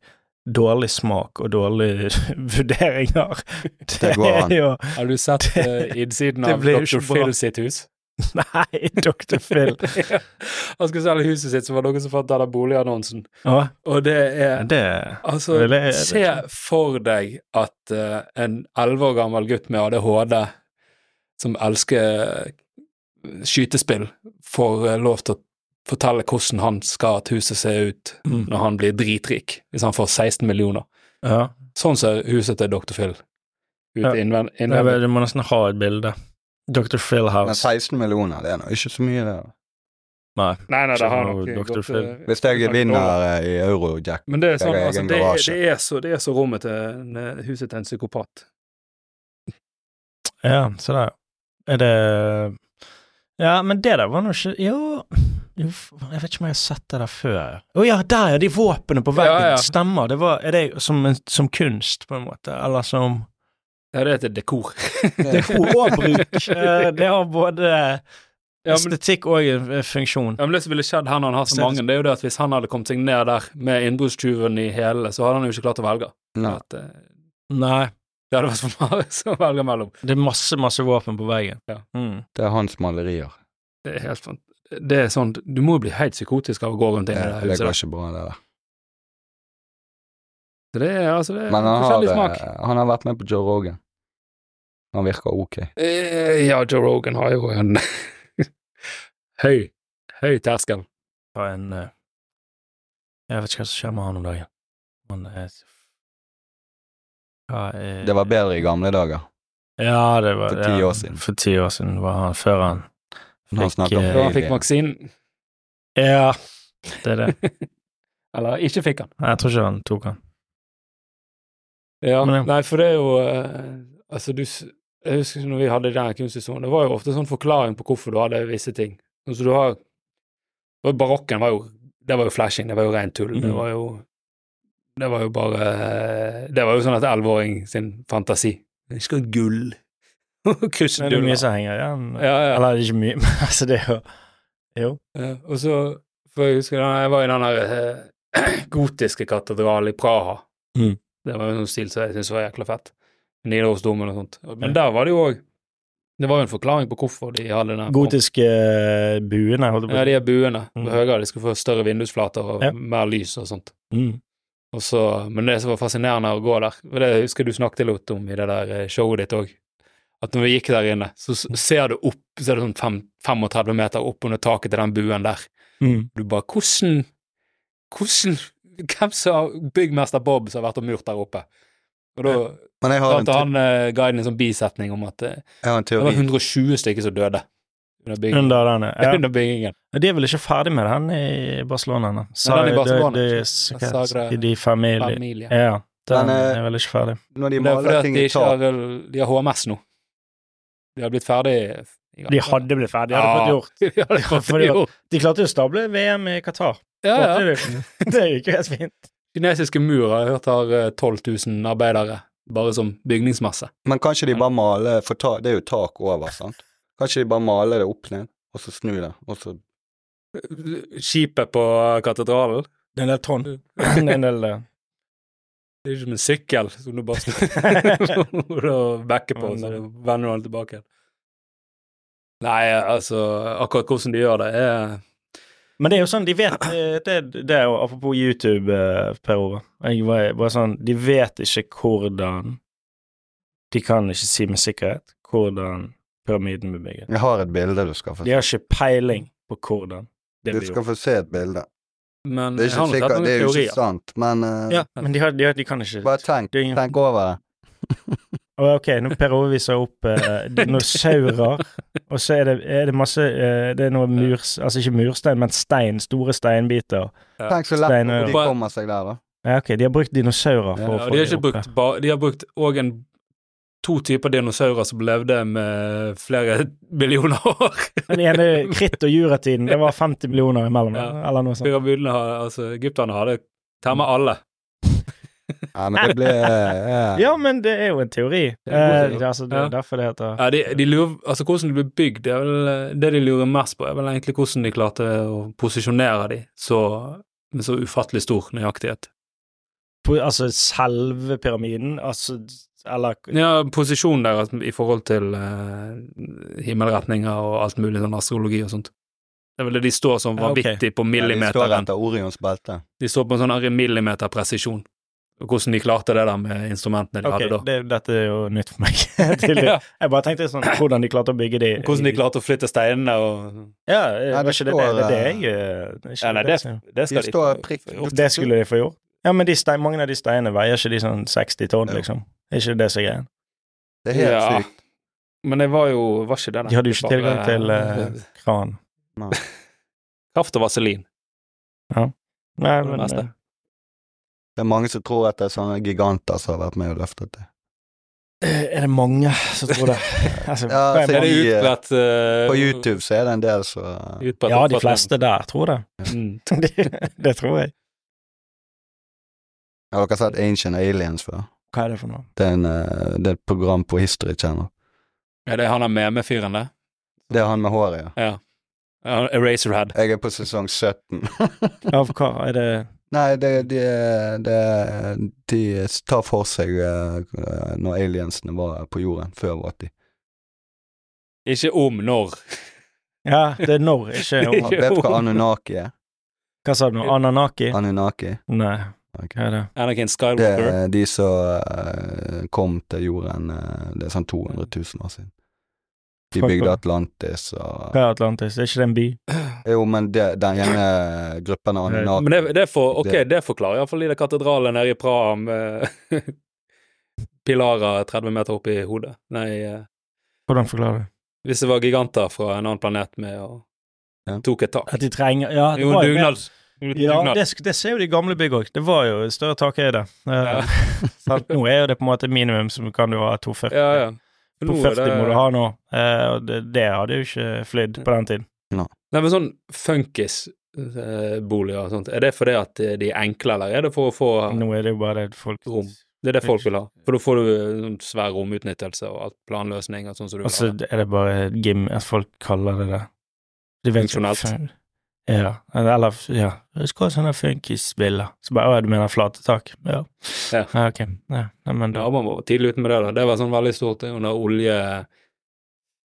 dårlig smak og dårlige vurderinger Det,
går an.
er jo
Har du sett eh, innsiden
Det
av
blir jo
Dr.
ikke bra.
Phil sitt hus?
Nei, Dr. Phil.
Ja. Han skulle selge huset sitt, så var det noen som fant den der boligannonsen.
Ja,
Og det er
det
Altså,
Vel, jeg-
se for deg at eh, en elleve år gammel gutt med ADHD som elsker eh, skytespill, får eh, lov til å fortelle hvordan han skal at huset ser ut
Mm.
når han blir dritrik, hvis han får 16 millioner.
Ja.
Sånn ser huset til Dr. Phil ut
Ja.
innven-
Nei,
innvendig.
men Du må nesten ha et bilde. Dr. Phil
Men
House.
16 millioner, det er nå ikke så mye, det.
Nei.
Nei, nei, det har
Skjønner
nok
du, Dr.
gått
Phil?
eh,
Hvis jeg
Takk
vinner eh, i Eurojack
Men det er sånn,
Jeg har
altså,
egen
det, er-
garasje.
det, er så, det er så rommet til en- eh, huset til en psykopat.
Ja, se der, ja. Er det Ja, men det der var nå ikke Jo, jo f- jeg vet ikke om jeg har sett det der før. Å ja, der, ja! De våpnene på veggen.
Ja, ja.
Stemmer. Det var, er det som, en- som kunst, på en måte? Eller som
Ja, det heter dekor.
Det er ord og bruk. Eh, Det har både
Ja, men
estetikk og eh, funksjon.
Ja, men Det som ville skjedd her når han har så
Ser-
mange, det er jo det at hvis han hadde kommet seg ned der med innbruddstyven i hælene, så hadde han jo ikke klart å velge.
Nei.
At, eh,
Nei,
det hadde vært for mange å velge mellom.
det er masse, masse våpen på veggen.
Ja.
Mm.
Det er hans malerier.
Det er helt sant. Det er sånn, Du må jo bli helt psykotisk av å gå rundt
Det,
inn i det huset.
det går
der.
ikke bra, det der.
Så det er altså det er
Men han har,
forskjellig smak.
eh, han har vært med på Joe Rogan. Han virker ok.
Eh, Ja, Joe Rogan har jo en høy, høy terskel.
Ta en eh, Jeg vet ikke hva som skjer med han om dagen. Han er Hva er
Det var
Eh,
bedre i gamle dager.
øh, Ja, det var
For ti
ja,
år siden.
For ti år siden var han før han
Når han snakker
eh,
Da han
Alien.
fikk vaksinen,
Ja, det er det.
eller ikke fikk han.
Nei, Jeg tror ikke han tok han.
Ja,
Men ja.
nei, for det er jo eh, Altså, du s- Jeg husker når vi hadde den kunsthistorien, det var jo ofte sånn forklaring på hvorfor du hadde visse ting. Sånn som du har og Barokken var jo Det var jo flashing, det var jo rent tull. Det
Mhm.
var jo Det var jo bare eh, Det var jo sånn at elleveåring sin fantasi. Jeg skal ha gull.
Men det er mye
Kryssduller.
som henger igjen.
Ja, ja.
Eller ikke mye, men altså, det er jo Jo.
Ja, og så For jeg husker da jeg var i den der eh, gotiske katedralen i Praha.
Mm.
Det var jo en sånn stil som jeg syntes var jækla fett. Nidarosdomen og sånt. Men der var det jo òg Det var jo en forklaring på hvorfor de hadde den
Gotiske eh, buene, holdt
Ja,
jeg på å si.
de er buene.
Mm.
Høyere, de skulle få større vindusflater og
Ja.
mer lys og sånt.
Mm.
Og så, men det som var fascinerende å gå der, for det husker du snakket litt om i det der eh, showet ditt òg, at når vi gikk der inne, så s- ser du opp, så er det sånn fem- 35 meter opp under taket til den buen der.
Mm.
Du bare Hvordan Hvordan Hvem som har Byggmester Bob som har vært og murt der oppe? Og da
Men jeg har
fortalte
en, te-
han eh, guiden en sånn bisetning om at eh,
jeg har en
det
teori.
var 120 stykker som døde under byggingen.
Under den, ja.
Under byggingen.
Men De er vel ikke ferdig med den i Barcelona? øh, ennå? Sa-
den i Barcelona,
De, de,
ikke?
hva-
Sagra-
I de familie...
Familie.
Ja, den
Men, eh,
er vel ikke ferdig.
Når de
Det er fordi
maler
at
ting
de
i
ikke
tak
har De har HMS nå. De har blitt ferdig i gang.
De hadde blitt ferdig, de hadde fått gjort.
De hadde fått
Fordi-
gjort.
De klarte jo å stable VM i Qatar.
Ja, ja.
Det Det gikk jo helt fint.
Kinesiske mur har jeg hørt har eh, 12 000 arbeidere bare som bygningsmasse.
Men kanskje de bare maler For ta, det er jo tak over, sant? Kanskje de bare maler det opp ned, og så snur det, og så
Skipet på katedralen
Det er en del tonn. Det er en del eh,
Det er ikke som en sykkel som du bare snur og backer på,
Men,
så
eh,
vender du den tilbake igjen. Nei, altså, akkurat hvordan de gjør det, er
Men det er jo sånn, de vet eh, Det, det er jo apropos YouTube, eh, Per Ove. Jeg var bare sånn De vet ikke hvordan De kan ikke si med sikkerhet hvordan pyramiden ble bygget.
Jeg har et bilde du skal få
De
se.
har ikke peiling på hvordan det
Du
ble
skal
gjort.
få se et bilde.
Men
Det er,
jeg Mm, har nok
ikke
sett
sikkert,
noen
det er jo ikke
teorier.
sant, men eh,
Ja, men de, har, de, har, de kan ikke
bare tenk,
det er ingen-
tenk over det.
Å, Ok, nå Per Ove viser opp eh, dinosaurer, og så er det, er det masse eh, Det er noe murs... Altså ikke murstein, men stein. Store steinbiter.
Ja.
Tenk så lett
Stein og-
de
Bare-
kommer seg der, da.
Ja, ok, de har brukt dinosaurer
Ja,
for å
Ja,
få
de har
det
ikke
oppe.
brukt ba De har brukt òg en to typer dinosaurer som levde med flere millioner år.
Den ene kritt- og juratiden, det var 50 millioner imellom,
Ja.
eller noe sånt.
Pyramidene har Altså, egypterne hadde Temme alle.
Nei, men det ble eh,
Ja, men det er jo en teori.
Det er en god
Eh,
teori.
det er altså, det
Ja.
er derfor det heter
Ja, de, de lurer, altså Hvordan de blir bygd, det, er vel, eh, det de lurer mest på, er vel egentlig hvordan de klarte å posisjonere de så, med så ufattelig stor nøyaktighet.
Po- Altså selve pyramiden, altså Eller
Ja, Posisjonen deres i forhold til eh, himmelretninger og alt mulig sånn astrologi og sånt. Det er vel det de står sånn
Ja, ok.
vanvittig på
De står
millimeteren.
etter Orions belte.
De står på en sånn millimeterpresisjon. Og Hvordan de klarte det der med instrumentene de
Ok,
hadde da.
det, dette er jo nytt for meg. Tydelig.
Ja.
Jeg bare tenkte sånn Hvordan de klarte å bygge de
Hvordan de klarte å flytte steinene og
Ja,
Nei,
var
det
ikke det det,
står,
det, er det
eh,
jeg eh, det er ikke
Ja, nei,
det jeg
det,
sier.
det
De
skal
står prikk
Det skulle de få gjort. Ja, men de stein, mange av de steinene veier ikke de sånn 60 tonn,
Jo.
liksom. Er ikke det som er greia?
Det er helt
Ja.
sykt.
Men det var jo Var ikke det, nei.
De hadde jo ikke
Det var,
tilgang til
eh,
eh, kran.
Kraft og vaselin.
Nei,
det
men
meste.
eh,
Det er mange som tror at det er sånne giganter som har vært med og løftet det.
eh, Er det mange som tror det? Altså,
Ja,
hvem-
så
Er det
de, eh,
utbredt eh,
På YouTube så er det en del som
utbredt
ja, de
oppfatning?
fleste der tror det.
Mm.
det. Det tror jeg.
Har dere sett Ancient Aliens før?
Hva er det for noe?
Det er, en, eh, det er et program på History Channel.
Er det han der meme-fyren der?
Det er han med håret, ja.
Ja, Eraserhead.
Jeg er på sesong 17.
Av hva er det
Nei, det, de, det- de tar for seg eh, når aliensene var på jorden før vår tid.
Ikke om når.
Ja, det er når, ikke om.
Har- Vet du hva Anunnaki er?
Hva sa du nå? Ananaki?
Anunnaki?
Nei,
Ok.
hva er det?
Anakin
Det
Skywalker.
er de som eh, kom til jorden eh, Det er sånn 200 000 år siden. De
Fuck,
bygde
hva?
Atlantis og
Hva er Atlantis? Er ikke det en by?
Jo, men det, den ene gruppen av
Men det,
Anunnaki
det, for, ok,
Det-
det forklarer iallfall de der katedralene nede i Praha med pilarer 30 meter opp i hodet. Nei, eh,
Hvordan forklarer du?
hvis det var giganter fra en annen planet med og
Ja.
tok et tak.
At de trenger Ja, det
Jo,
var jo
dugnad.
mer- Ja,
Dugnad.
det, sk- det ser jo de gamle bygg òg. Det var jo større takhøyde. Eh,
Ja.
sant? Nå er jo det på en måte minimum, så kan du ha 240.
Ja, ja. Nå er
240
det-
må du ha nå. Eh, og det, det hadde jo ikke flydd på den tiden.
Nei, men sånn funkisboliger og sånt, er det fordi at de er enkle, eller er det for å få
Nå er det jo bare det folk
Rom. Det er det folk vil ha. For da får du eh, sånn svær romutnyttelse og alt planløsning og sånn som du vil
Og så
ha.
er det bare gym at folk kaller det det. De vet ikke-
Funksjonelt.
Ja. Eller ja. Jeg skal ha sånne funkisbiler. Så bare Å, du mener flate tak? Ja.
Ja.
ok. Ja. Nei, men da
Ja, man var tidlig ute med det, da. Det var sånn veldig stort det, under olje...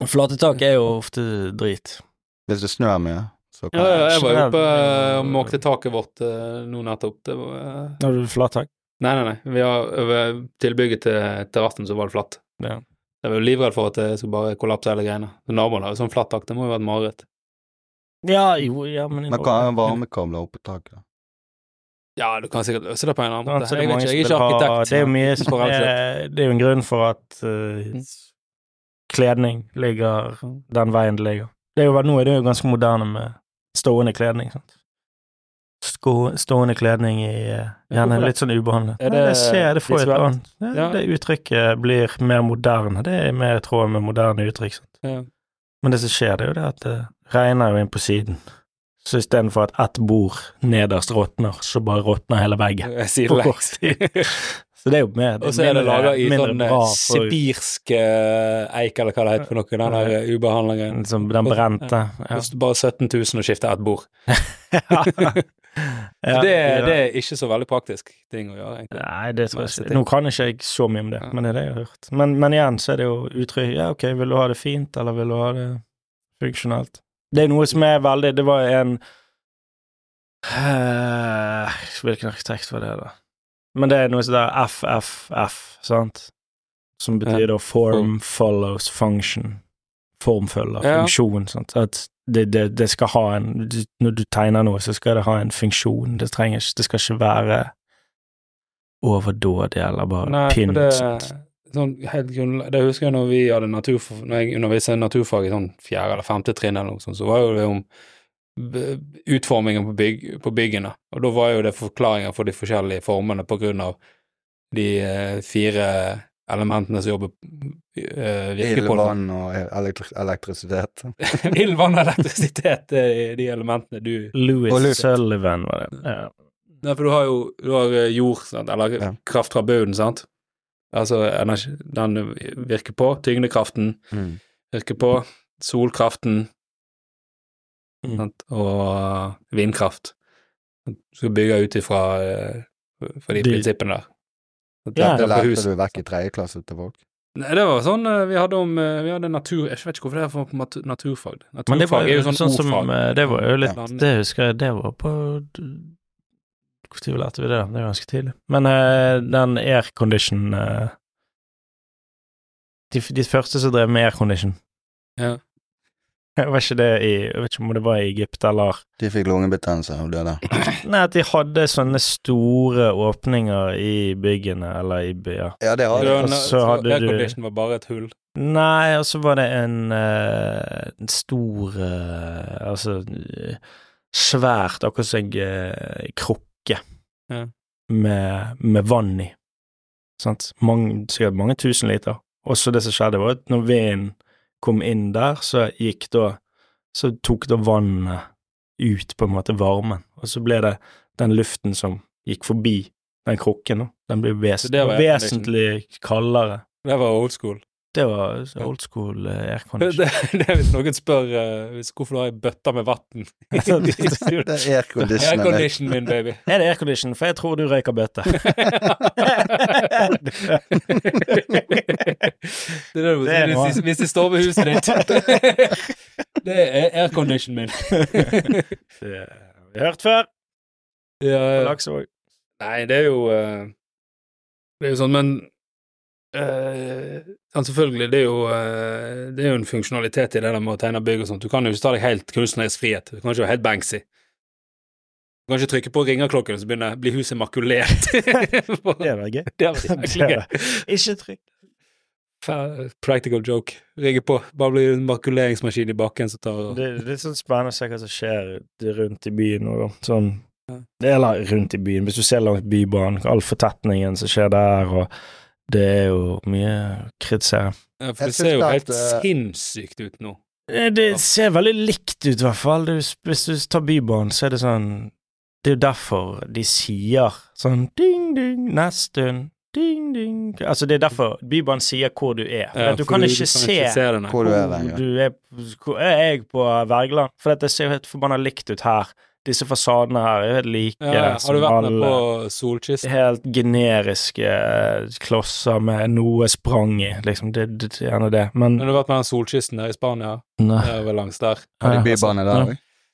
Flate tak er jo ofte drit.
Hvis det snør mye, så
Ja,
kan
ja, jeg var jo
skjønner.
oppe eh, og måkte taket vårt eh, nå nettopp. Det var eh,
Når du flat tak?
Nei, nei, nei. Vi har over tilbygget til terrassen, så var det flatt.
Ja.
Jeg var jo livredd for at det skulle bare kollapse hele greiene. Men Naboen har jo sånn flatt tak, det må jo være et mareritt.
Ja, jo, ja, men
Men hva er varmekabler oppe på taket?
Ja, du kan sikkert løse det på en eller annen
Sånn,
måte.
så det
Jeg,
er
vet
mange
ikke, jeg er
som vil
ikke
ha
arkitekt.
Det er jo mye som
Bare rett og
er Det er jo en grunn for at eh, kledning ligger den veien det ligger. Det er jo, nå er det jo ganske moderne med stående kledning, sant. Skå, stående kledning i eh, gjerne
hvorfor det?
litt sånn ubehandlet.
Er
Nei,
det
jeg ser det får et
visuelt?
annet det,
Ja.
det uttrykket blir mer moderne. Det er mer i tråd med moderne uttrykk, sant.
Ja.
Men det som skjer, det er jo det at det regner jo inn på siden. Så istedenfor at ett bord nederst råtner, så bare råtner hele veggen.
Jeg
På
sier
kort tid. Så det er jo mer
Og så er det
mindre-
laga i
mindre
sånn
bra
eh,
for-
sibirsk eh, eik, eller hva det heter for noe, den der eh, ubehandla greien.
Som den brente. Ja.
Koster bare 17 000 å skifte ett bord.
Ja,
det,
ja.
det er ikke så veldig praktisk ting å gjøre, egentlig.
Nei, det tror jeg
Nei,
ikke. Nå kan ikke jeg så mye om det,
Ja.
men det er det jeg har hørt. Men, men igjen så er det jo uttrykk Ja, ok, vil du ha det fint, eller vil du ha det funksjonelt? Det er noe som er veldig Det var en eh, Hvilken arkitekt var det, da? Men det er noe som heter FFF, sant? Som betyr da form follows function. Form følger
Ja.
funksjon, sant. At det, det, det skal ha en du- Når du tegner noe, så skal det ha en funksjon. Det trenger ikke Det skal ikke være overdådig eller bare
Nei, for
pynt.
det,
sant?
sånn, helt grunnle- det husker jeg når vi hadde naturfag, når jeg underviste i naturfag i sånn fjerde eller femte trinn eller noe sånt, så var jo det om b- utformingen på, bygg, på byggene, og da var jo det forklaringer for de forskjellige formene på grunn av de eh, fire elementene som jobber eh, virker
Ild,
på den.
vann og elektri elektrisitet.
Ild, vann og elektrisitet er eh, de elementene du
Louis
Og luft.
Sullivan var det. Ja.
Nei, for du har jo du har eh, jord, sant? eller
Ja.
kraft fra bunnen, sant. Altså energi, den virker på. Tyngdekraften
Mm.
virker på. Solkraften
Mm.
sant? og eh, vindkraft. Du skal bygge ut ifra eh, fra de,
De-
prinsippene der. At
Ja.
dette
Det
er for
lærte
hus.
du vekk i tredje klasse til folk.
Nei, det var sånn eh, vi hadde om eh, Vi hadde natur Jeg vet ikke hvorfor det er for mat- naturfag. Naturfag
Men det var
er
jo
jo sånn,
sånn som
ordfag.
eh, Det var jo litt
Land-
Det husker jeg, det var på Hvor tid lærte vi det? da? Det var ganske tidlig. Men eh, den aircondition eh, de, f- de første som drev med aircondition
Ja.
Jeg vet ikke det i Jeg vet ikke om det var i Egypt eller
De fikk lungebetennelse av det der.
Nei, at de hadde sånne store åpninger i byggene, eller i byer.
Ja, det har
Ja,
de. Altså,
Og
na-
så
så
hadde du-
Aircondition var bare et hull.
Nei, og så var det en, eh, en stor eh, Altså eh, svært, akkurat som en eh, krukke
Ja.
med, med vann i. Sant? Mange, sikkert mange tusen liter. Og så det som skjedde, var at når vinden kom inn der, så gikk da Så tok da vannet ut, på en måte, varmen. Og så ble det den luften som gikk forbi den krukken, da. Den ble
Så
ves
det var liksom aircondition.
vesentlig kaldere.
Det var old school.
Det var old school eh,
Det,
aircondition.
det er hvis noen spør eh, hvis, hvorfor du har ei bøtte med vann i
Det
studioet.
er airconditioner. det.
Aircondition min, baby.
Er det aircondition? For jeg tror du røyker bøtte.
Det er det du må
Det er
si hvis, de- hvis de står ved huset ditt. Det er aircondition min.
Det- Vi har hørt før
Ja,
på
ja.
Laksevåg.
Nei, det er jo eh, Det er jo sånn, men eh, ja, Selvfølgelig, det er, jo, eh, det er jo en funksjonalitet i det der med å tegne bygg og sånt. Du kan jo ikke ta deg helt kunstnerisk frihet. Du kan ikke være helt Banksy. Du kan ikke trykke på ringeklokken, så begynner blir huset makulert.
Det var gøy.
det var jævlig gøy.
Ikke trykk.
Fa- Practical joke. Rigge på. Bare blir det en makuleringsmaskin i bakken som tar og
Det er litt sånn spennende å se hva som skjer rundt i byen nå, da. Sånn det er la- rundt i byen, hvis du ser langs Bybanen, all fortetningen som skjer der, og det er jo mye kritisering.
ja, For
Jeg
det ser jo
synes
helt
at, eh,
sinnssykt ut nå.
Eh, Det ser veldig likt ut, i hvert fall. Du, hvis du tar Bybanen, så er det sånn Det er jo derfor de sier sånn ding, ding, nesten, ding, ding Altså, det er derfor Bybanen sier hvor du er. For
Ja,
at du
for
kan
kan
ikke se
det, nei.
Hvor du er lenger.
du er, hvor er jeg på Wergeland? For dette ser jo helt forbanna likt ut her. Disse fasadene her er jo helt like
Ja, ja. Har du
som
vært med
alle.
på Solkysten?
Helt generiske eh, klosser med noe sprang i, liksom. Det det- det er gjerne det. Men
Har du vært med den solkysten der i Spania?
Nei.
Der, langs der.
Har de bybane der òg?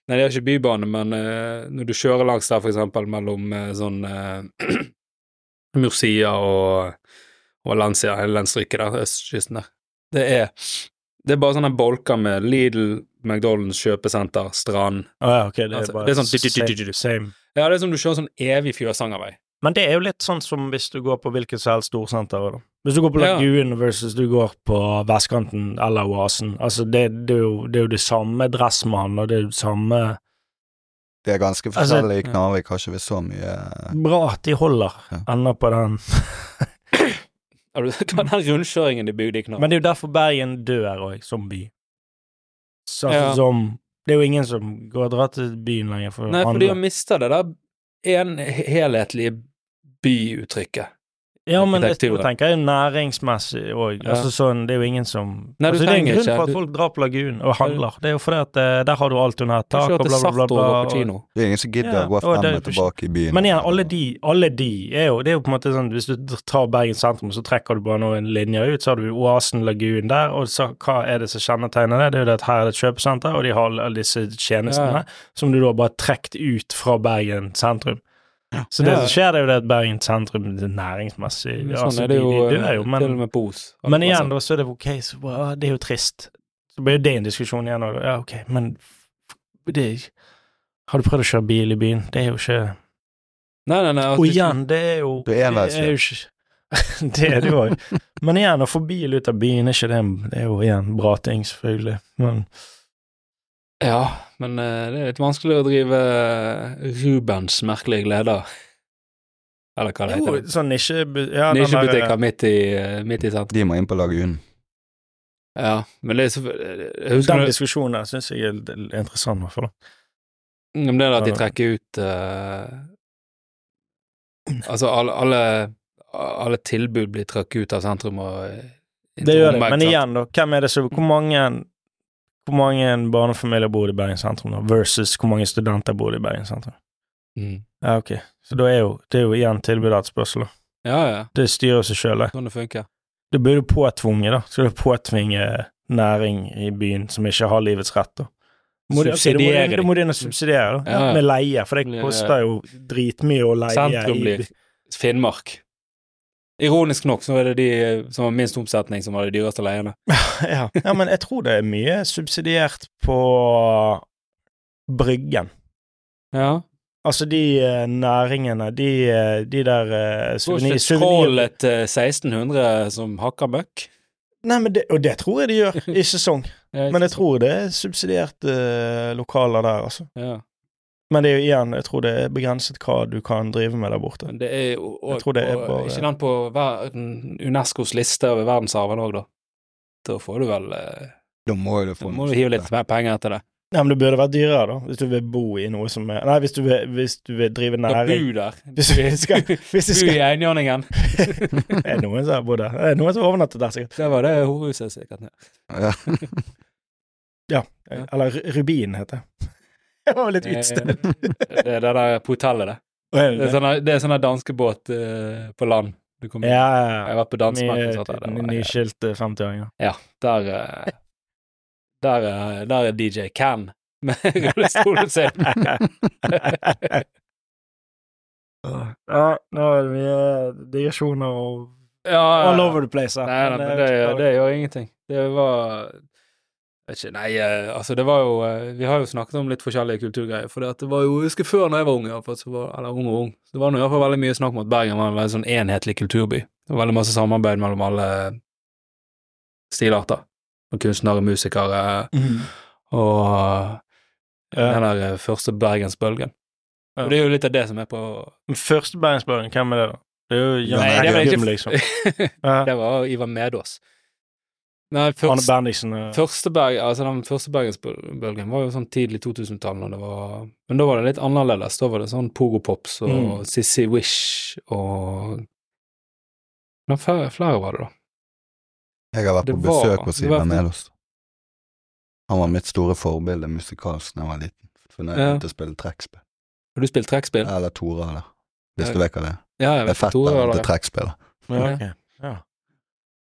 Nei, det er ikke bybane, men eh, når du kjører langs der, for eksempel mellom eh, sånn eh, Murcia og, og Lancia, hele den stryket der, østkysten der, det er det er bare sånne bolker med Lidl, McDonald's, kjøpesenter, strand.
Å ja, ok, det
Altså,
er bare
det er sånn du- du- du- du- du.
same.
Ja, det er som du kjører sånn evig Fjøsangervei.
Men det er jo litt sånn som hvis du går på hvilket som helst storsenter. Da. Hvis du går på
Ja.
Lagunen versus du går på vestkanten eller Oasen. Altså, det, det, er, jo, det er jo det samme dressmannen, og det er jo det samme
Det er ganske
Altså,
forskjellig i
ja.
Knarvik, har ikke vi så mye eh,
Bra at de holder
Ja.
ender på den.
Har du hva er den rundkjøringen de bygde i Knarr?
Men det er jo derfor Bergen dør òg, som by. Så, altså,
Ja.
som Det er jo ingen som går og drar til byen lenger for å
Nei, for de har
handle.
mista det der en helhetlige byuttrykket.
Ja, men jeg
arkitekturen.
tenker jo næringsmessig òg.
Ja.
Altså sånn, det er jo ingen som
Nei, du
altså, Det er en
trenger
grunn
ikke.
for at
Du-
folk drar på Lagunen og handler. Det er jo fordi at eh, der har du alt under et
Du
tak og
kjører til
bla, bla, bla.
Sartor og går
og-
på kino.
Det er ingen som gidder
Ja,
å gå
og
frem
det-
og tilbake i byen.
Men igjen, alle de, alle de er jo Det er jo på en måte sånn Hvis du tar Bergen sentrum, så trekker du bare noen linjer ut, så har du Oasen Lagun der, og så, hva er det som kjennetegner det? Det er jo det at her er det et kjøpesenter, og de har alle disse
Ja.
tjenestene som du da bare trukket ut fra Bergen sentrum. Så det
Ja.
som skjer, det er jo det at Bergen sentrum det er
Sånn
næringsmessig altså,
er det jo,
de, de dør jo,
eh, til og
men,
med på Os.
men igjen, da så er det ok, så bare, ah, det er jo trist. Så blir jo det en diskusjon igjen, og ja, ok, men det er Har du prøvd å kjøre bil i byen? Det er jo ikke
Nei, nei, nei. altså,
og
hvis du-
igjen, det er jo
Det er enveiskjøring.
jo ikke Det er det jo òg. Men igjen, å få bil ut av byen er ikke det Det er jo igjen bra ting, selvfølgelig. Men
Ja, men eh, det er litt vanskelig å drive eh, Rubens merkelige gleder. Eller hva det
jo,
heter.
sånn nisje... Ja, den
Nisjebutikker
der-
midt i, eh, midt i sentrum.
De må inn på Lagunen.
Ja, men det er så Jeg husker
Den
det,
diskusjonen der syns jeg er
Mm,
litt interessant, i hvert fall.
om det der at de trekker ut eh, Altså, alle, alle, alle tilbud blir trukket ut av sentrum og eh, inn
Det
til
gjør det.
Romberg,
Men
sant?
igjen, da. Hvem er det som Hvor mange, hvor mange barnefamilier bor i Bergen sentrum, da? Versus hvor mange studenter bor i Bergen sentrum?
Mm.
Ja, ok. Så da er jo, det er jo igjen tilbud og etterspørsel, da.
Ja, ja.
Det styrer seg sjøl, det.
Sånn det funker.
Du blir jo påtvunget, da. Skal du påtvinge næring i byen som ikke har livets rett, da? Må de- ok, da må de-
Subsidiere de.
Da må de inn og subsidiere, da.
Ja, ja.
Med eh, leie, for det
Blir-
koster jo dritmye å leie
Sentrum
i
blir Finnmark. Ironisk nok så er det de eh, som har minst omsetning, som har de dyreste leiene.
ja. ja, men jeg tror det er mye subsidiert på Bryggen.
Ja.
Altså de eh, næringene, de, eh, de der eh,
Så er
souvenir...
ikke
souvenir-
skrålet til 1600 som hakker møkk.
Nei, men det, og det tror jeg de gjør i sesong. Men jeg tror det er subsidierte eh, lokaler der, altså.
ja.
Men det er jo igjen, jeg tror det er begrenset hva du kan drive med der borte.
Men det er jo og,
Jeg tror det er
og-
bare-
Ikke den på verden, UNESCOs liste over verdensarven òg, da. Da får du vel eh,
Da må jo du
Da
få
må du hive litt mer penger etter det.
Nei, men det burde vært dyrere, da, hvis du vil bo i noe som er Nei, hvis du vil, hvis du vil drive
Da
næring.
bu der.
Hvis du skal Hvis du
Bu
skal
i Einhjørningen.
Er det noen som har bodd der? Er det noen som har overnattet der, sikkert?
Det var det horhuset sikkert. ja.
Ja.
Ja.
Eller Ru- Rubin, heter det. Det var vel litt
Eh,
utstemt.
Det er det der på hotellet, det. Det er sånn det er sånn der danskebåt eh, på land. Du kommer
Ja,
Jeg har vært på dansemarked.
Mye nyskilte 50-åringer.
Der, eh, der, eh, der er DJ Can med rullestolen sin.
Ja, nå er det mye digresjoner og
Ja,
all over the place. her.
Nei,
Men,
nei, det,
eh, jeg
gjør-
vet
det gjør ingenting. Det var vet ikke, Nei, eh, altså, det var jo eh, Vi har jo snakket om litt forskjellige kulturgreier. For det var jo, jeg husker før når jeg var ung, i hvert fall, så var, eller ung og ung, så var det nå i hvert fall veldig mye snakk om at Bergen var en veldig sånn enhetlig kulturby. Det var veldig masse samarbeid mellom alle stilarter. Og kunstnere, musikere
ikke. Mhm.
og
Ja.
den der eh, første bergensbølgen.
Ja.
Og det er jo litt av det som er på
Men Første bergensbølgen, hvem er det, da? Det er jo Jan
Nei, det er vel
Eggum,
ikke-
liksom. Ja.
Det var Ivar Medås. Nei,
Arne
først,
Bendiksen eh. og
Første berg, altså den første bergensbølgen var jo sånn tidlig 2000-tall, når det var Men da var det litt annerledes. Da var det sånn Pogo Pops og
Mm.
Sissy Wish og Men flere, flere var det, da.
Jeg har vært
Det
på
var-
besøk hos
det var-
Ivar Melos. Han var mitt store forbilde musikalsk da jeg var liten. For når jeg
Ja.
begynte å spille trekkspill.
Har du spilt trekkspill?
Eller Tora, eller Hvis
Ja.
du vet hva det er.
Ja, jeg
Det er
vet ikke. Tore,
fetteren til
eller
trekkspillet.
Ja, ok. ja.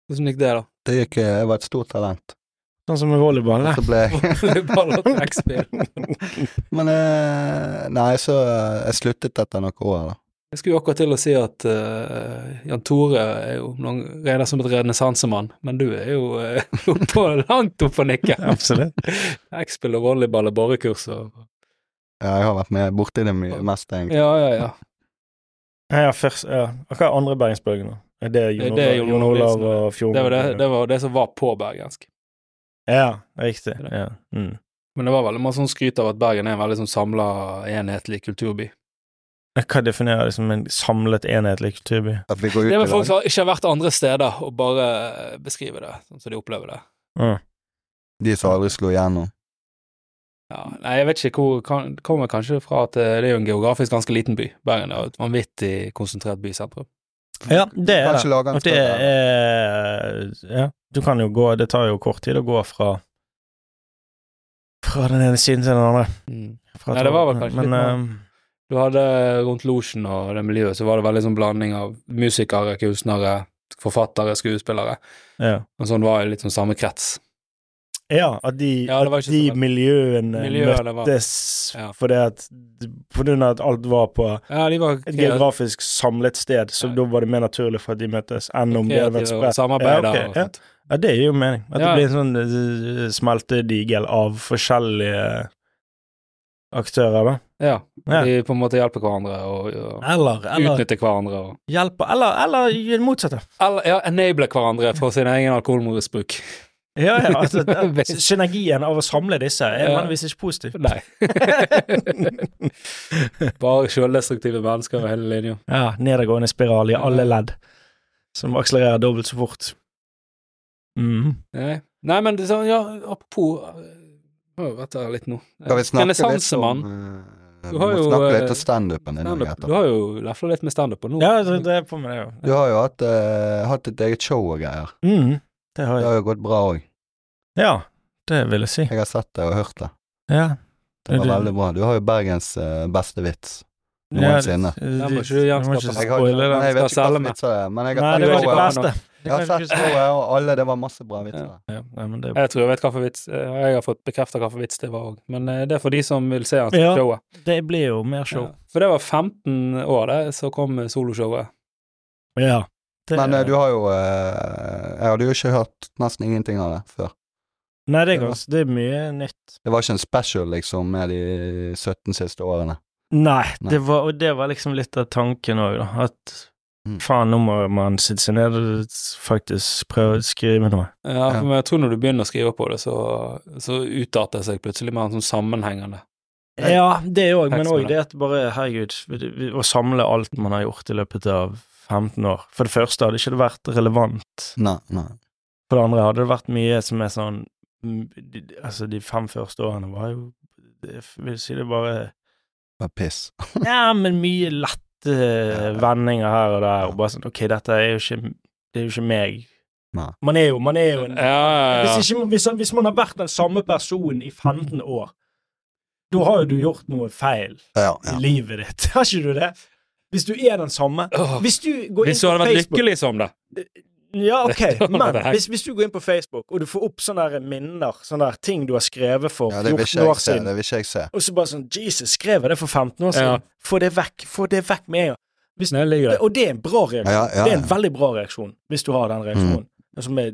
Hvordan gikk det, da?
Det gikk, eh, jeg var et stort talent.
Sånn som med volleyball.
Og
da.
Så ble jeg
Volleyball og trekkspill.
Men eh, nei, så eh, jeg sluttet etter noen år, da.
Jeg skulle jo akkurat til å si at eh, Jan Tore er jo noen regner som et renessansemann, men du er jo eh, oppå, langt oppe og nikker.
Absolutt.
Trekkspill og volleyball og borekurs og
Ja, jeg har vært med borti det mye, mest, egentlig.
Ja, ja, ja.
Ja, ja, først, ja. Og Hva er andre bergensbølgen, da? Er det Jon
Det er Jon
Olav- Jon
Olav
Olav
Nilsen,
og
Det var
Fjordgård?
det, det var det som var på bergensk.
Ja, riktig. Ja. Mm.
Men det var veldig masse sånn skryt av at Bergen er en veldig sånn samla, enhetlig kulturby.
Men Hva definerer det som en samlet enhetlig kulturby?
At vi går ut
Det er
i
vel folk
lag.
som ikke har vært andre steder, og bare beskriver det sånn som de opplever det.
Mm.
De som aldri slo igjennom.
Ja, nei, jeg vet ikke hvor kan, Kommer kanskje fra at eh, det er jo en geografisk ganske liten by. Bergen er jo et vanvittig konsentrert bysentrum.
Ja, det er
Kanskje
det.
lage en
Og det
større, eller?
er Ja, du kan jo gå Det tar jo kort tid å gå fra Fra den ene siden til den andre.
Mm.
Fra
Nei, det var vel kanskje
Men,
litt
eh,
Du hadde rundt losjen og det miljøet, så var det veldig sånn blanding av musikere, kunstnere, forfattere, skuespillere.
eh, ja.
Og sånn var jo litt sånn samme krets.
Ja, at de,
Ja, det var
at
ikke
de
så lett.
miljøene
Miljøene var-
møttes
Ja.
fordi at På grunn av at alt var på
Ja, de var
et geografisk samlet sted, så
Ja.
da var det mer naturlig for at de møttes, enn om det hadde vært
kreative og
spredt.
samarbeider
Ja, ok,
og
ja.
sånt.
Ja, det gir jo mening. At
Ja.
det blir en sånn eh, smeltedigel av forskjellige aktører, da.
Ja,
Ja.
de på en måte hjelper hverandre og, og
Eller,
utnytter hverandre. Og,
hjelper Eller, eller gjør det motsatte.
eller ja, enabler hverandre for sin egen alkoholmisbruk.
Ja, ja, altså, det,
Visst.
synergien av å samle disse er
Ja.
vanligvis ikke positiv.
Nei. Bare selvdestruktive mennesker over hele linja.
Ja, nedadgående spiral i alle ledd, som akselererer dobbelt så fort. Mm.
Nei. Nei, men det, er sånn, ja, apropos øh, Har jo vært der litt nå.
Skal vi snakke litt om
Renessansemann.
eh, Eh,
Du har
vi må
jo,
snakke
eh,
litt om standupen din
Standup.
etterpå.
Du har jo lefla litt med standup, og nå
Ja, altså, det det er på med det òg.
Du har jo hatt, eh, hatt et eget show og greier.
Mm, det har
Det
jeg.
har jo gått bra òg.
Ja, det vil jeg si.
Jeg har sett det og hørt det.
Ja.
Det var
Du-
veldig bra. Du har jo Bergens eh, beste vits
Ja,
noensinne.
du-
må ikke du gjenskape.
du
Jeg
må ikke spoile
nei,
det.
jeg vet ikke
Skal selge
hvilke
meg.
vitser det er, men jeg
Nei,
har
det var
sett
de
ikke
showet.
bra.
fleste.
Jeg har sett showet, og alle, det var masse bra vitser. der.
Ja, nei, men det
Jeg tror jeg vet hva for vits. eh, Jeg har fått bekrefta hva for vits det var òg. Men eh, det er for de som vil se han
Ja,
showet.
Det blir jo mer show.
Ja. For det var 15 år, det, så kom eh, soloshowet.
Ja. Det,
Men eh, du har jo eh, Jeg hadde jo ikke hørt nesten ingenting av det før.
Nei, det er, ganske, det er mye nytt.
Det var ikke en special, liksom, med de 17 siste årene.
Nei,
Nei.
Det var, og det var liksom litt av tanken òg, da. At
Mm.
faen, nå må man sitte seg ned og faktisk prøve å skrive noe.
Ja,
Ja.
for jeg tror når du begynner å skrive på det, så, så utarter det seg plutselig mer sånn sammenhengende.
Nei.
Ja, det òg, men
Tekst med
òg det at bare, herregud, å samle alt man har gjort i løpet av 15 år. For det første hadde ikke det vært relevant.
Nei, nei.
For det andre hadde det vært mye som er sånn mm, de- de- Altså, de fem første årene var jo Jeg vil si det bare
Det var piss.
Ja, men mye lette
Ja, ja.
vendinger her og der, og bare sånn Ok, dette er jo ikke Det er jo ikke meg.
Nei.
Man er jo, man er jo
Ja,
en
Eh, ja, ja.
hvis, ikke, hvis, hvis man har vært den samme personen i 15 år, da har jo du gjort noe feil
Ja,
i
ja.
livet ditt. Har ikke du det? Hvis du er den samme
Åh,
Hvis du går inn
Hvis du
på
hadde vært
Facebook
lykkelig som det.
Ja, ok,
Nei,
men
det er-
hvis, hvis du går inn på Facebook, og du får opp sånne der minner, sånne der ting du har skrevet for
ja det vil
14
ikke
år
jeg se.
siden,
Det vil ikke jeg se.
og så bare sånn Jesus, skrev jeg det for 15 år siden?
Ja.
Få det vekk. Få det vekk med en gang. Hvis,
Nei, ligger der.
og det er en bra reaksjon.
Ja, ja, Mm.
Det er en
ja.
veldig bra reaksjon, hvis du har den reaksjonen. Som er,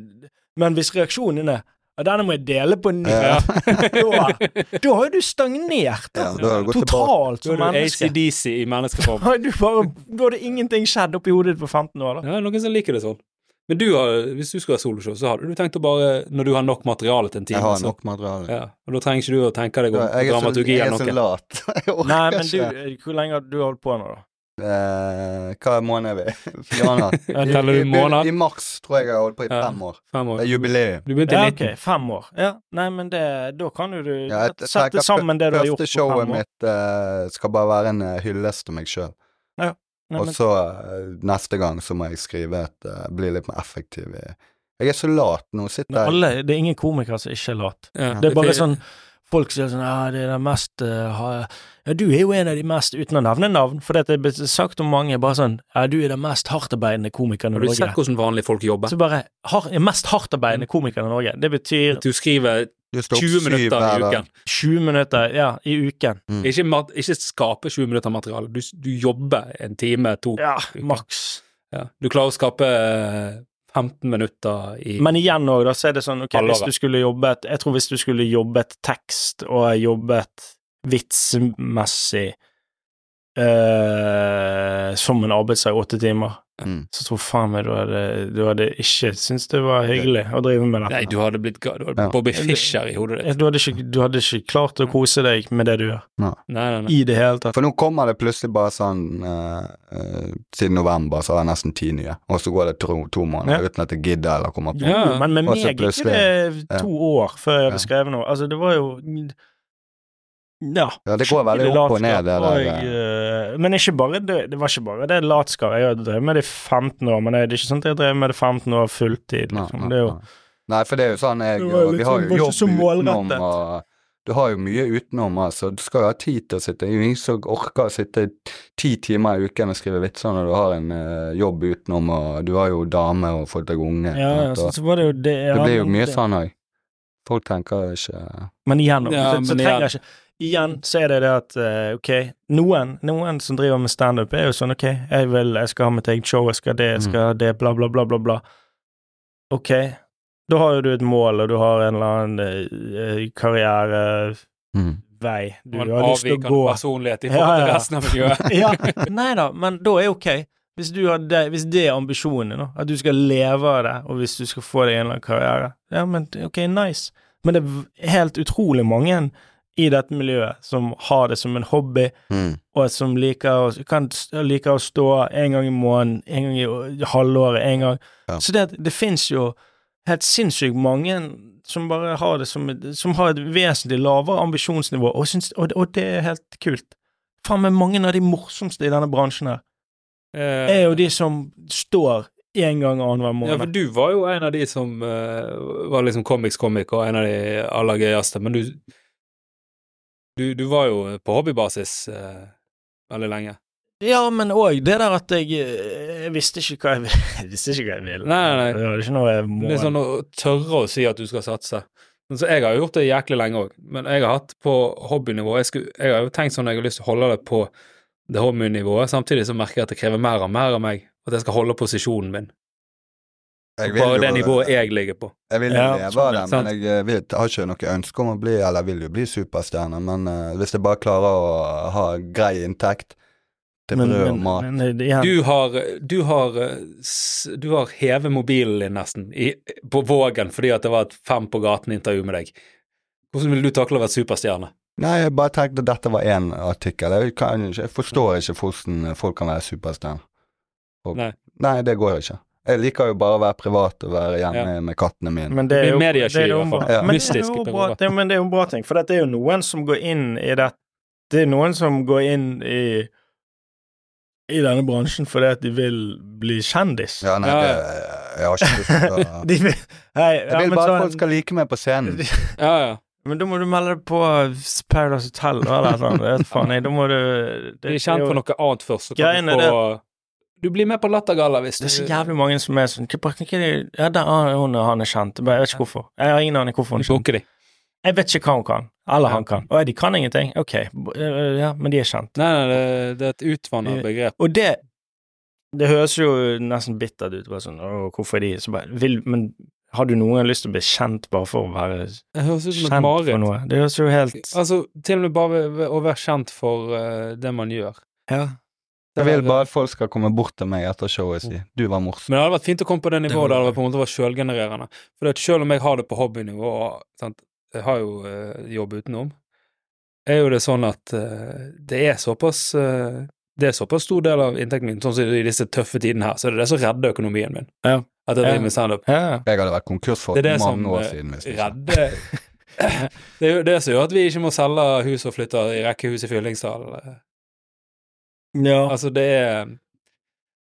men hvis reaksjonen din er «Ja, denne må jeg dele på ny,
Ja.
da, da har jo du stagnert da.
Ja, da har du gått tilbake.
totalt
Da
som
er du
menneske.
ACDC i menneskeform.
Da har du bare, da hadde ingenting skjedd oppi hodet ditt på 15 år. da.
Ja, det er noen som liker det sånn. Men du har, hvis du skulle ha soloshow, så hadde du tenkt å bare Når du har nok materiale til en time,
Jeg har
så-
nok materiale.
Ja, og da trenger ikke du å tenke deg om
altså. Jeg er så,
dramaturgi
jeg er
eller
så
noe.
lat. Jeg orker
Nei, men du,
ikke.
eh, hvor lenge har du holdt på nå, da?
Eh, hva måned er vi? Fire måneder.
Ja, du-
Teller
I,
du måneder?
I mars tror jeg jeg har holdt på i
Ja.
fem år.
Fem
Det
år?
er jubileum.
Du begynte
Ja,
i 19.
ok, fem år. Ja, nei, men det, da kan jo du
Ja, jeg tenker
sette
fø-
sammen det du har gjort
Første
på
showet
fem år.
mitt eh, skal bare være en eh, hyllest til meg sjøl.
Nei,
Og
men,
så eh, neste gang så må jeg skrive et eh, Bli litt mer effektiv. i- Jeg er så lat nå.
men
Sitter
alle, det er ingen komikere som ikke er lat.
Ja,
Det er bare sånn Folk sier sånn Ja, det er den mest eh, ha- Ja, du er jo en av de mest Uten å nevne navn, for det er blitt sagt om mange bare sånn Ja, du er den mest hardtarbeidende komikeren i
Har du
Norge.
sett Mm. hvordan vanlige folk jobber?
Så bare har, er Mest hardtarbeidende komikeren i Norge. Det betyr
Du skriver
Du står opp
20
syv
minutter
hver
i
dag.
uken.
20 minutter ja, i uken.
Ikke, mat, ikke skape 20 minutter materiale. Du, du jobber en time, to.
Ja,
Uken.
maks.
Ja. Du klarer å skape eh, 15 minutter i
Men igjen òg, da, så er det sånn ok,
Halvåret.
hvis du skulle jobbet Jeg tror hvis du skulle jobbet tekst og jobbet vitsmessig eh, som en arbeidsdag i åtte timer,
Mm.
så tror faen meg du hadde, du hadde ikke syntes det var hyggelig å drive med
Nei,
dette. Eh,
du hadde blitt ga- du hadde
Ja.
Bobby Fischer i hodet ditt.
Du hadde, ikke, du hadde ikke klart å kose deg med det du gjør,
Nei, nei, nei.
i det hele tatt.
For nå kommer det plutselig bare sånn eh, eh, Siden november så har jeg nesten ti nye, og så går det to, to måneder
Ja.
uten at jeg gidder eller kommer på.
Jo,
Ja.
men med
Og så
meg gikk
plutselig-
det to år før jeg
Ja.
hadde skrevet noe. Altså, det var jo Ja.
Ja, det går veldig
skikkelig
opp og ned, det
latskap,
der.
og,
eh.
eh, men ikke bare det, det var ikke bare det latskap. Jeg har drevet med det i 15 år, men det er ikke sånn at jeg drev med det 15 år fulltid.
Nei,
Liksom.
nei,
Det er jo
nei. Nei, for det er jo sånn jeg
Det var
og Vi har
liksom-
jo
var ikke så
jobb utenom
målrettet.
og Du har jo mye utenom, altså. Du skal jo ha tid til å sitte. Det er jo ingen som orker å sitte ti timer i uken og skrive vitser når du har en eh, jobb utenom, og du har jo dame og folk deg unge.
Ja,
sant,
ja, så,
og
så var det jo det ja,
det blir jo
men
mye
det-
sånn òg. Folk tenker jo ikke
Men igjen,
Ja,
så, så
men
trenger jeg ikke Igjen så er det det at eh, ok, noen, noen som driver med standup, er jo sånn ok, jeg vil, jeg skal ha mitt eget show, jeg skal det,
Mm.
jeg skal ha det, bla, bla, bla, bla, bla. Ok, da har jo du et mål, og du har en eller annen eh, karrierevei
mm.
du
Og en
har lyst til å
avvikende
gå.
personlighet i
Ja,
forhold
ja,
til
ja.
resten av miljøet.
ja, nei da, men da er ok. Hvis, du har det, hvis det er ambisjonen, da, at du skal leve av det, og hvis du skal få deg en eller annen karriere, ja, men det- ok, nice. Men det er v- helt utrolig mange i dette miljøet som har det som en hobby,
Mm.
og som liker å, kan, s- liker å stå en gang i måneden, en gang i å- halvåret, en gang.
Ja.
Så det, at det fins jo helt sinnssykt mange som bare har det som, et- som har et vesentlig lavere ambisjonsnivå, og, syns, og, og det er helt kult. faen meg mange av de morsomste i denne bransjen her,
Eh,
er jo de som står én gang annenhver
ja, for
måned.
du var jo en av de som eh, var liksom comics comic, og en av de aller gøyeste, men du Du, du var jo på hobbybasis eh, veldig lenge.
Ja, men òg det der at jeg, eh, jeg visste ikke hva jeg ville. Jeg visste ikke hva jeg ville.
Nei, nei, nei.
Det var ikke noe jeg må
Det er sånn å tørre å si at du skal satse. Men Så jeg har jo gjort det jæklig lenge òg, men jeg har hatt på hobbynivå jeg, skulle, jeg har jo tenkt sånn at jeg har lyst til å holde det på det hobbynivået, samtidig så merker jeg at det krever mer og mer av meg, at jeg skal holde posisjonen min.
Jeg
Bare det
jo-
nivået jeg ligger på.
Jeg vil jo
Ja,
leve
sånn,
av det,
sant.
men jeg eh, vet, har ikke noe ønske om å bli, eller vil jo bli superstjerne, men eh, hvis jeg bare klarer å ha grei inntekt til
Men-
brød og
men-
mat
men det- igjen,
Du har, du har, eh, s- du har hevet mobilen din nesten i, på vågen fordi at det var et fem på gaten-intervju med deg. Hvordan ville du takle å være superstjerne?
Nei, jeg bare tenkte at dette var én artikkel. Jeg, kan, ikke- jeg forstår ikke hvordan folk kan være superstjerner. Og-
Nei.
Nei, det går ikke. Jeg liker jo bare å være privat og være hjemme med kattene mine.
Men
Det
det er
blir
jo, det
mediesky
er
i
jo,
hvert
bra-
fall.
Ja.
men det er
Mystisk,
jo
det
bra,
går bra.
det, men det er jo en bra ting, for dette er jo noen som går inn i det Det er noen som går inn i i denne bransjen fordi at de vil bli kjendis.
Ja, nei,
Ja,
det, eh,
ja.
jeg har ikke lyst til å
De vil, hei, ja,
Jeg vil
men,
bare at
sånn-
folk skal like meg på scenen.
Ja, ja.
men da må du melde deg på eh, Paradise Hotel eller noe sånt. Jeg vet faen, jeg, da må du det,
Bli kjent
det er
for
jo-
noe annet først. Så kan
Greiene
du, få, du blir med på Lattergalla hvis du
Det er så jævlig mange som er sånn «Hva- hva er det- Ja, der er hun og han er kjent. Jeg bare- jeg vet ikke hvorfor. Jeg har ingen aning hvorfor hun er
Du
kjent.
bukker de.
Jeg vet ikke hva hun kan. Eller
Ja.
han kan. Å, ja, de kan ingenting. Ok, b- eh, ja, men de er kjent.
Nei, nei, det, det er et utvanna begrep.
Og det Det høres jo nesten bittert ut. Bare sånn, Åh, hvorfor er de så bare, vil, Men har du noen gang lyst til å bli kjent bare for å være
Det høres ut som
kjent
et
for
mareritt.
noe? Det høres jo helt
Altså, til og med bare ved- ved å være kjent for eh, det man gjør.
ja.
Jeg vil bare at folk skal komme bort til meg etter showet og si
Mm.
'du var morsom'.
Men det hadde vært fint å komme på det nivået
Det
der
var-
det på en måte var sjølgenererende. For det at selv om jeg har det på hobbynivå, og sant, jeg har jo eh, jobb utenom, er jo det sånn at eh, det er såpass eh, det er såpass stor del av inntekten min, sånn som i disse tøffe tidene her, så det er det som redder økonomien min.
Ja.
At jeg
Ja.
driver med standup.
ja.
Jeg hadde vært konkurs for
Det er det
mange
som,
år
eh,
siden. Hvis ikke.
Redde Det er jo det som gjør at vi ikke må selge hus og flytte i rekkehus i Fyllingsdal.
ja.
Altså, det er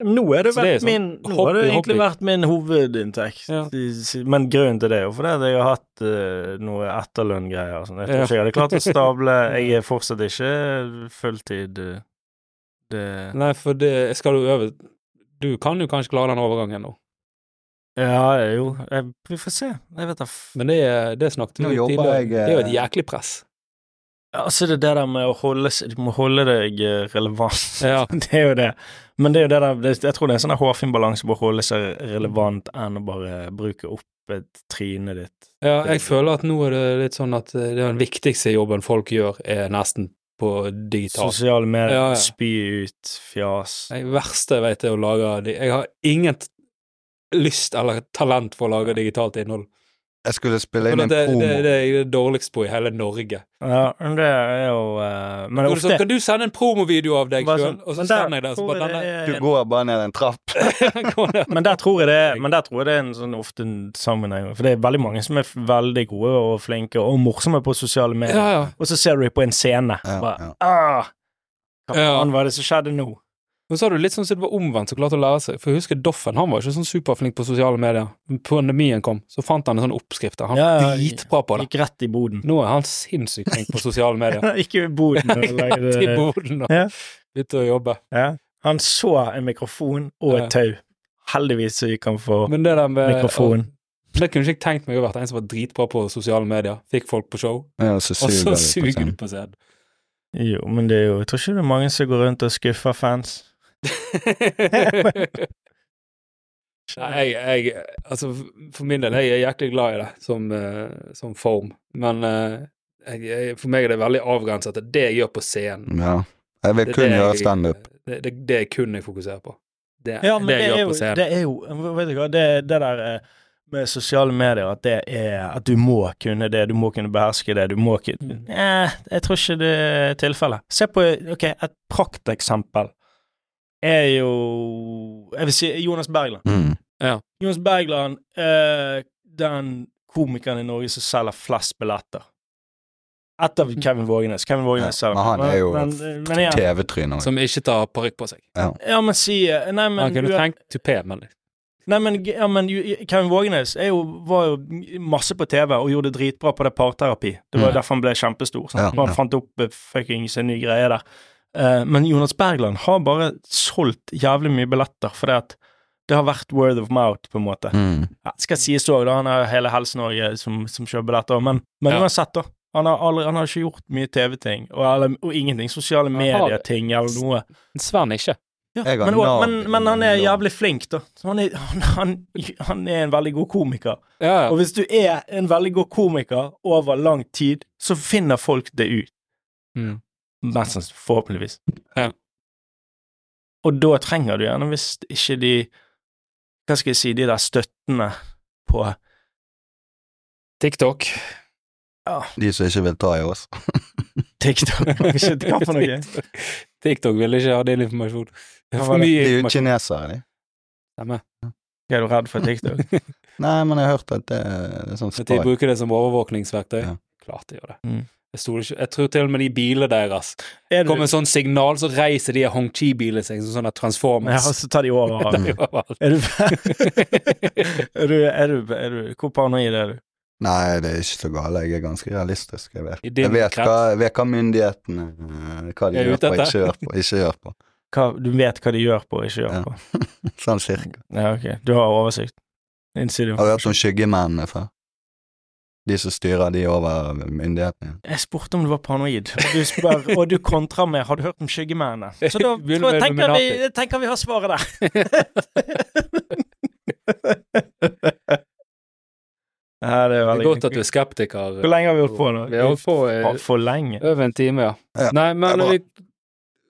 Nå er det,
Så det er
vært
sånn
min, nå har det
hobby,
egentlig
hobby.
vært min hovedinntekt.
Ja.
Men grunnen til det er jo fordi at jeg har hatt eh, noe etterlønngreier. og sånn. Jeg tror
Ja.
ikke jeg hadde klart å stable Jeg er fortsatt ikke fulltid eh, det
Nei, for det skal du øve Du kan jo kanskje klare den overgangen nå,
Ja, jo jeg, Vi får se. Jeg vet da f-
men det, er- det snakket vi
Nå
om
jobber
tidligere.
jeg,
Det er jo et
eh,
jæklig press.
Altså, det er det der med å holde s- Du må holde deg eh, relevant.
Ja.
Det er jo det. Men det er jo det der det, Jeg tror det er en sånn der hårfin balanse på å holde seg relevant enn å bare bruke opp et trynet ditt.
Ja, jeg føler at nå er det litt sånn at eh, det er den viktigste jobben folk gjør, er nesten på digital.
Sosiale medier,
Ja, ja.
spy ut fjas.
Det verste jeg vet er å lage di- Jeg har inget lyst eller talent for å lage digitalt innhold.
Jeg skulle spille
For
inn
det,
en
det, det,
promo.
det er jeg dårligst på i hele Norge.
Ja, men det er jo eh, Men
Og du sa,
ofte
kan du sende en promovideo av deg
bare
sjøl,
sånn,
og så
men
sender jeg det, så
tror
bare
jeg
denne
det er
Du
en-
går bare ned en trapp.
går ned.
Men der tror jeg det, men der tror jeg det er en sånn ofte en sammenheng. For det er veldig mange som er f- veldig gode og flinke og morsomme på sosiale medier.
Ja, ja.
Og så ser du dem på en scene.
Ja,
bare,
ja.
ah, hva
Ja.
faen var det som skjedde nå?
Men så har du litt sånn som det var omvendt, så klarte å lære seg. For jeg husker Doffen, han var ikke sånn superflink på sosiale medier. Men pandemien kom, så fant han en sånn oppskrift der. Han
Ja,
var
ja,
dritbra på det.
Gikk rett i boden.
Nå er han sinnssykt flink på sosiale medier.
Ikke i boden. men
Rett i
lagde-
boden og
Ja.
begynte å jobbe.
Ja. Han så en mikrofon og
Ja.
et tau. Heldigvis så gikk han for
Men eh, det der med
mikrofon.
Det kunne ikke jeg tenkt meg å være en som var dritbra på sosiale medier. Fikk folk på show,
Ja, og så
og
suger
så
du på
suger du
scenen.
på scenen.
Jo, men det er jo Jeg tror ikke det er mange som går rundt og skuffer fans.
Nei, jeg, jeg Altså, for min del, jeg er jæklig glad i det som, eh, som form, men eh, jeg, jeg, for meg er det veldig avgrenset til det jeg gjør på scenen.
Ja. Jeg vil
Det er
Mm, kun
det
gjøre
jeg-
standup.
Det, det, det er kun jeg fokuserer på. Det,
Ja, men
det
det,
jeg
er
gjør
jo,
på scenen.
det er jo Vet du hva, det, det der eh, med sosiale medier, at det er At du må kunne det, du må kunne beherske det, du må kunne
Mm.
eh, Jeg tror ikke det er tilfellet. Se på Ok, et prakteksempel er jo Jeg vil si Jonas Bergland.
Mm.
Jonas Bergland, eh, den komikeren i Norge som selger flest billetter. Etter
Mm.
Kevin Vågenes. Kevin Vågenes
Ja,
selv.
men han er jo
men, men, men igjen,
TV-tryne.
Som ikke tar parykk på seg.
ja, men si eh, Nei, men
Han kunne
du-
trengt tupé, men
Nei, men, ja, men ju- Kevin Vågenes er jo, var jo masse på TV og gjorde det dritbra på det parterapi. Det var jo
Mm.
derfor han ble kjempestor. Sant?
Ja,
Og han
ja.
fant opp eh, fucking sin nye greie der. Eh, men Jonas Bergland har bare solgt jævlig mye billetter fordi at det har vært word of mouth, på en måte.
Mm.
Ja, skal sies òg, da. Han har hele Helse-Norge som, som kjøper billetter. Men, men
Ja.
uansett, da. Han har, aldri, han har ikke gjort mye TV-ting, og, eller- og ingenting sosiale
Han har-
medier-ting eller noe.
Sven ikke.
Ja,
Jeg har
men, og,
nav-
men, men han er
nav.
jævlig flink, da. Så han, er, han, han, han er en veldig god komiker.
Ja, ja.
Og hvis du er en veldig god komiker over lang tid, så finner folk det ut.
Mm.
Mest sannsynlig, forhåpentligvis.
Ja.
Og da trenger du gjerne, hvis ikke de Hva skal jeg si, de der støttene på
TikTok.
De som ikke vil ta i oss.
TikTok Shit, Hva for noe?
TikTok ville ikke ha din informasjon. Det er
Hva var
for
det?
De
mye
er jo
informasjon.
kinesere, de.
Stemme.
Er du redd for TikTok?
Nei, men jeg har hørt at det er sånn
At de
spy.
bruker det som overvåkningsverktøy.
Ja.
Klart de gjør det.
Mm.
Jeg, stoler ikke. jeg tror til og med de bilene deres
Er du,
Kommer sånn signal, så reiser de Hong Chi-bilene seg som sånne
ja,
Transformers.
så tar de over.
Det er jo alt.
Er du, er du, er du, er du Hvor paranoid er du?
Nei, det er ikke så gale. Jeg er ganske realistisk. Jeg vet,
I din
jeg vet,
krets.
hva, jeg vet hva myndighetene eh, Hva de
Er
gjør
ute
på,
etter.
ikke gjør på. Ikke gjør på.
Hva, du vet hva de gjør på og ikke gjør
Ja.
på?
Sånn cirka.
Ja, ok. Du har oversikt. Innsidig.
Har du hørt om skyggemennene før? De som styrer de over myndighetene.
Jeg spurte om du var paranoid, og du, spør, og du kontrer med 'har du hørt om skyggemennene'? Så da
Begynner
tror jeg-
med
tenker vi,
Illuminati.
jeg tenker vi har svaret der. ja, det er
Det
veldig
er godt at du er skeptiker.
Hvor lenge har vi holdt på nå?
Vi har holdt på
for,
eh,
for lenge.
over en time, ja.
Ja,
Nei,
det er
men
bra.
vi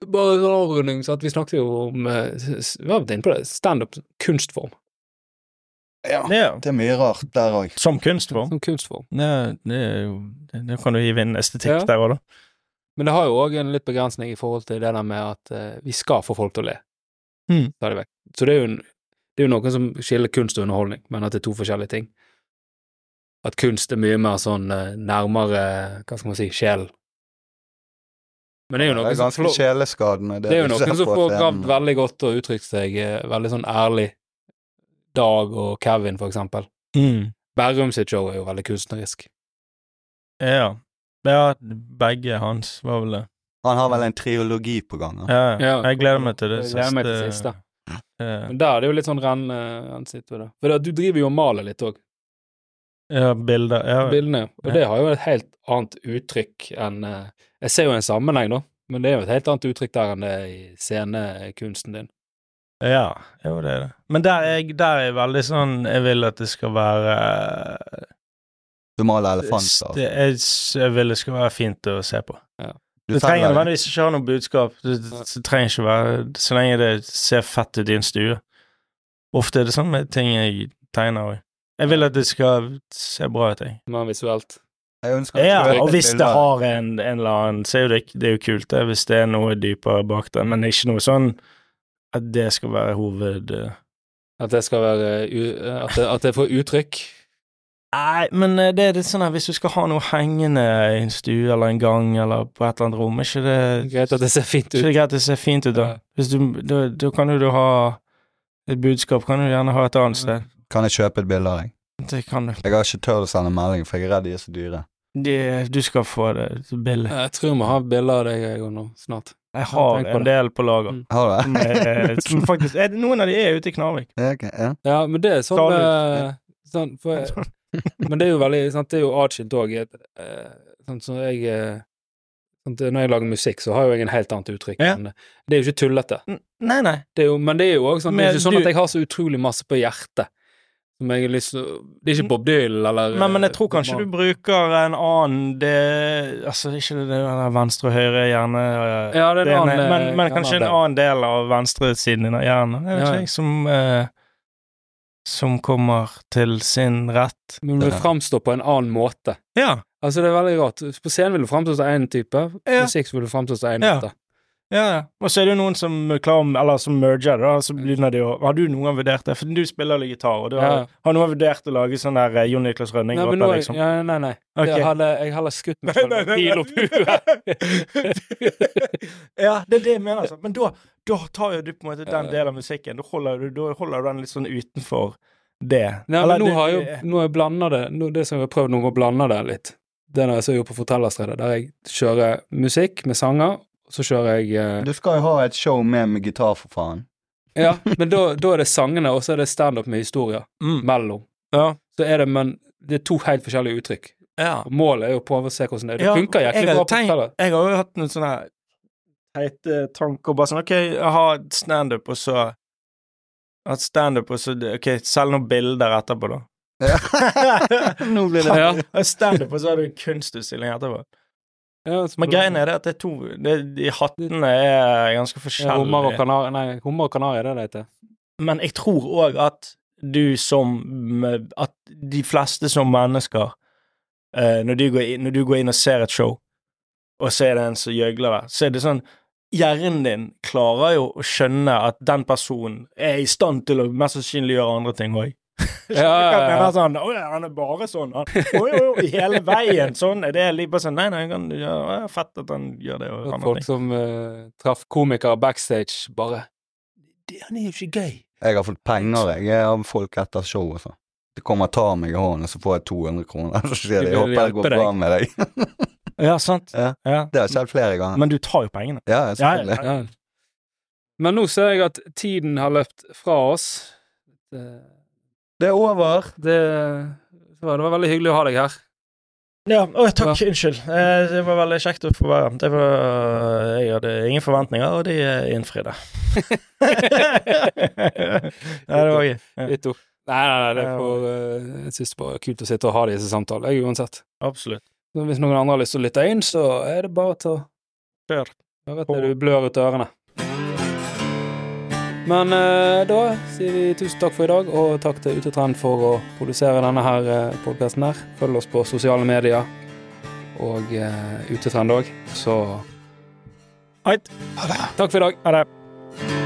Bare en avrunding, så at vi snakket jo om eh, s- Vi har vært inne på det. Standup som kunstform.
Ja,
Det er,
det er mye rart der òg.
som kunstform.
Som kunstform.
Det, er- det er jo det- Da kan du hive inn estetikk
Ja.
der òg, da.
Men det har jo òg en litt begrensning i forhold til det der med at eh, vi skal få folk til å le.
Mm.
Ta det vekk. Så det er jo en, det er jo noen som skiller kunst og underholdning, men at det er to forskjellige ting. At kunst er mye mer sånn eh, nærmere, hva skal man si, sjelen. Men det er jo
Det
noen
er
som
ganske
flå-
sjeleskadende.
det er jo
du ser
noen som
på
får
scenen.
gravd veldig godt og uttrykt seg eh, veldig sånn ærlig. Dag og Kevin, for eksempel.
Mm.
Berrum sitt show er jo veldig kunstnerisk.
Ja. ja. Begge hans var vel det.
Han har vel en triologi på gang. han.
Ja,
Ja.
jeg gleder meg til det
Jeg gleder meg til siste.
eh,
Men der er det jo litt sånn renn... renn sitt ved det. For det, du driver jo og maler litt òg,
Ja, bilder. Ja,
bildene. Og
Ja.
det har jo et helt annet uttrykk enn eh, Jeg ser jo en sammenheng, da, men det er jo et helt annet uttrykk der enn det er i scenekunsten din.
ja jo, det er det. Men der er, jeg, der er jeg veldig sånn Jeg vil at det skal være
Du maler
st-
elefanter.
jeg, s- jeg vil det skal være fint å se på.
Du
Du trenger
selger det.
nødvendigvis ikke ha noe budskap. Det, det, det trenger ikke være Så lenge det ser fett ut i en stue. Ofte er det sånn med ting jeg tegner òg. Jeg vil at det skal se bra ut, jeg.
Men visuelt.
Jeg ønsker at du
Ja,
øker
og hvis det
bildet.
har en, en eller annen Så er jo det, det er jo kult, det, hvis det er noe dypere bak det, men det er ikke noe sånn at det skal være hoved... eh.
At det skal være u, at, det, at det får uttrykk.
Nei, men eh, det er litt sånn her, hvis du skal ha noe hengende i en stue eller en gang eller på et eller annet rom, er ikke det,
Greit at det ser fint
ikke
ut.
det greit at det ser fint ut, da?
Ja.
Hvis du, da, da kan jo du ha et budskap, kan du gjerne ha et annet sted.
Kan jeg kjøpe et bilde av deg?
Det kan du.
Jeg har ikke turt å sende melding, for jeg er redd de er så dyre.
Det, du skal få det billig.
Jeg tror vi har bilder av deg jeg òg nå, snart.
Jeg har
tenk på
en
det.
del på lager.
Mm.
Har du
Som er-
det?
som faktisk, er, noen av de er ute i Knarvik.
Ja, ok, ja.
Ja, men det er sånn,
Skal
med, sånn for, jeg- Men det er jo veldig sant, Det er jo atskilt òg. Sånn som jeg eh, sånn, at Når jeg lager musikk, så har jo jeg en helt annet uttrykk.
Ja.
enn det. det er jo ikke tullete.
Nei, nei.
Det er jo, men det er jo også sånn, det er
Men
ikke sånn
du-
at jeg har så utrolig masse på hjertet. Som jeg har lyst til å- Det er ikke Bob Dylan eller eh,
Men, men jeg tror kanskje du bruker en annen det, Altså, ikke det, det der venstre og høyre hjerne eh,
Ja, det er
det
en
ene,
annen
men, men
en
kanskje en
del.
annen del av venstresiden din av hjernen. Jeg vet
Ja,
ikke,
ja.
jeg, som eh, Som kommer til sin rett.
Men det framstår på en annen måte.
Ja.
Altså, det er veldig rart. På scenen vil du framstå som én type,
Ja.
musikk så vil du framstå som én
Ja.
måte.
Ja, ja. Og så er det jo noen som klarer, eller som merger det, da. Så begynner de å Har du noen gang vurdert det? For du spiller litt gitar, og du
Ja.
har, har noen gang vurdert å lage sånn der eh, Jon Niklas Rønning?
Nei, men nå,
låter,
er-
liksom?
ja, nei, nei.
Ok.
Jeg hadde, jeg hadde skutt meg selv med pil og bue.
ja, det er det jeg mener. Altså. Men da, da tar jo du på en måte den delen av musikken. Da holder du, da holder du den litt sånn utenfor det.
Nei,
Eller
men nå
det-
har jeg jo nå har jeg blanda det nå, Det som jeg har prøvd nå, er å blande det litt. Det er når jeg så gjorde på Fortellerstredet, der jeg kjører musikk med sanger, og så kjører jeg eh,
Du skal jo ha et show med med gitar, for faen.
Ja, men da, da er det sangene, og så er det standup med historier
mm.
mellom.
Ja.
Så er det, men det er to helt forskjellige uttrykk.
ja.
Og målet er jo å prøve å se hvordan det er. Det
Ja,
funker
jeg
jæklig
hadde
bra på
tenkt-
Fortellerstredet.
Jeg har jo hatt noen sånne teite tanker bare sånn Ok, jeg har standup, og så at standup, og så Ok, selg noen bilder etterpå, da.
Nå blir det
Ja,
Og Standup, og så har du en kunstutstilling etterpå.
ja, så-
Men greien er det at det er to det, De hattene er ganske
Ja, Hummer og
forskjellige.
kanari, nei, hummer og kanari, det er det det heter.
Men jeg tror òg at du som eh, At de fleste som mennesker eh, når, du går inn, når du går inn og ser et show, og så er det en som gjøgler der, så er det sånn Hjernen din klarer jo å skjønne at den personen er i stand til å mest sannsynlig gjøre andre ting òg.
Ja, ja,
Han
ja.
er sånn Å ja, han er bare sånn, han. Å jo, jo, hele veien sånn. Er det litt bare sånn Nei, nei, han kan gjøre ja, Fett at han gjør det og
Og
andre
Folk
ting.
som eh, traff komikere backstage, bare
Det- Han er jo ikke gøy.
Jeg har fått penger, jeg, av folk etter show og sånn. De kommer og tar meg i hånden, og så får jeg 200 kroner. Så sier de
De vil
'jeg håper det
hjelpe
går bra
deg.
med deg'.
Ja, sant.
Ja.
Ja.
Det har skjedd flere ganger.
Men du tar jo pengene.
Ja, selvfølgelig.
ja. Men nå ser jeg at tiden har løpt fra oss. Det,
Det er over.
det, det var det var veldig hyggelig å ha deg her.
Ja, å, takk, unnskyld. Eh, Det var veldig kjekt å få være her. Det var- eh, Jeg hadde ingen forventninger, og de eh, innfridde. ja, det var gøy. Ja,
Ditt ord. Nei, nei, nei, det får, eh, jeg synes det bare er kult å sitte og ha disse samtalene, jeg uansett.
absolutt.
Så hvis noen andre har lyst til å lytte inn, så er det bare til å
Kjør.
høre til du blør ut ørene. Men eh, da sier vi tusen takk for i dag, og takk til Utetrend for å produsere denne her eh, podcasten her. Følg oss på sosiale medier, og eh, Utetrend òg. Så
Heit.
takk for i dag.
Ha det.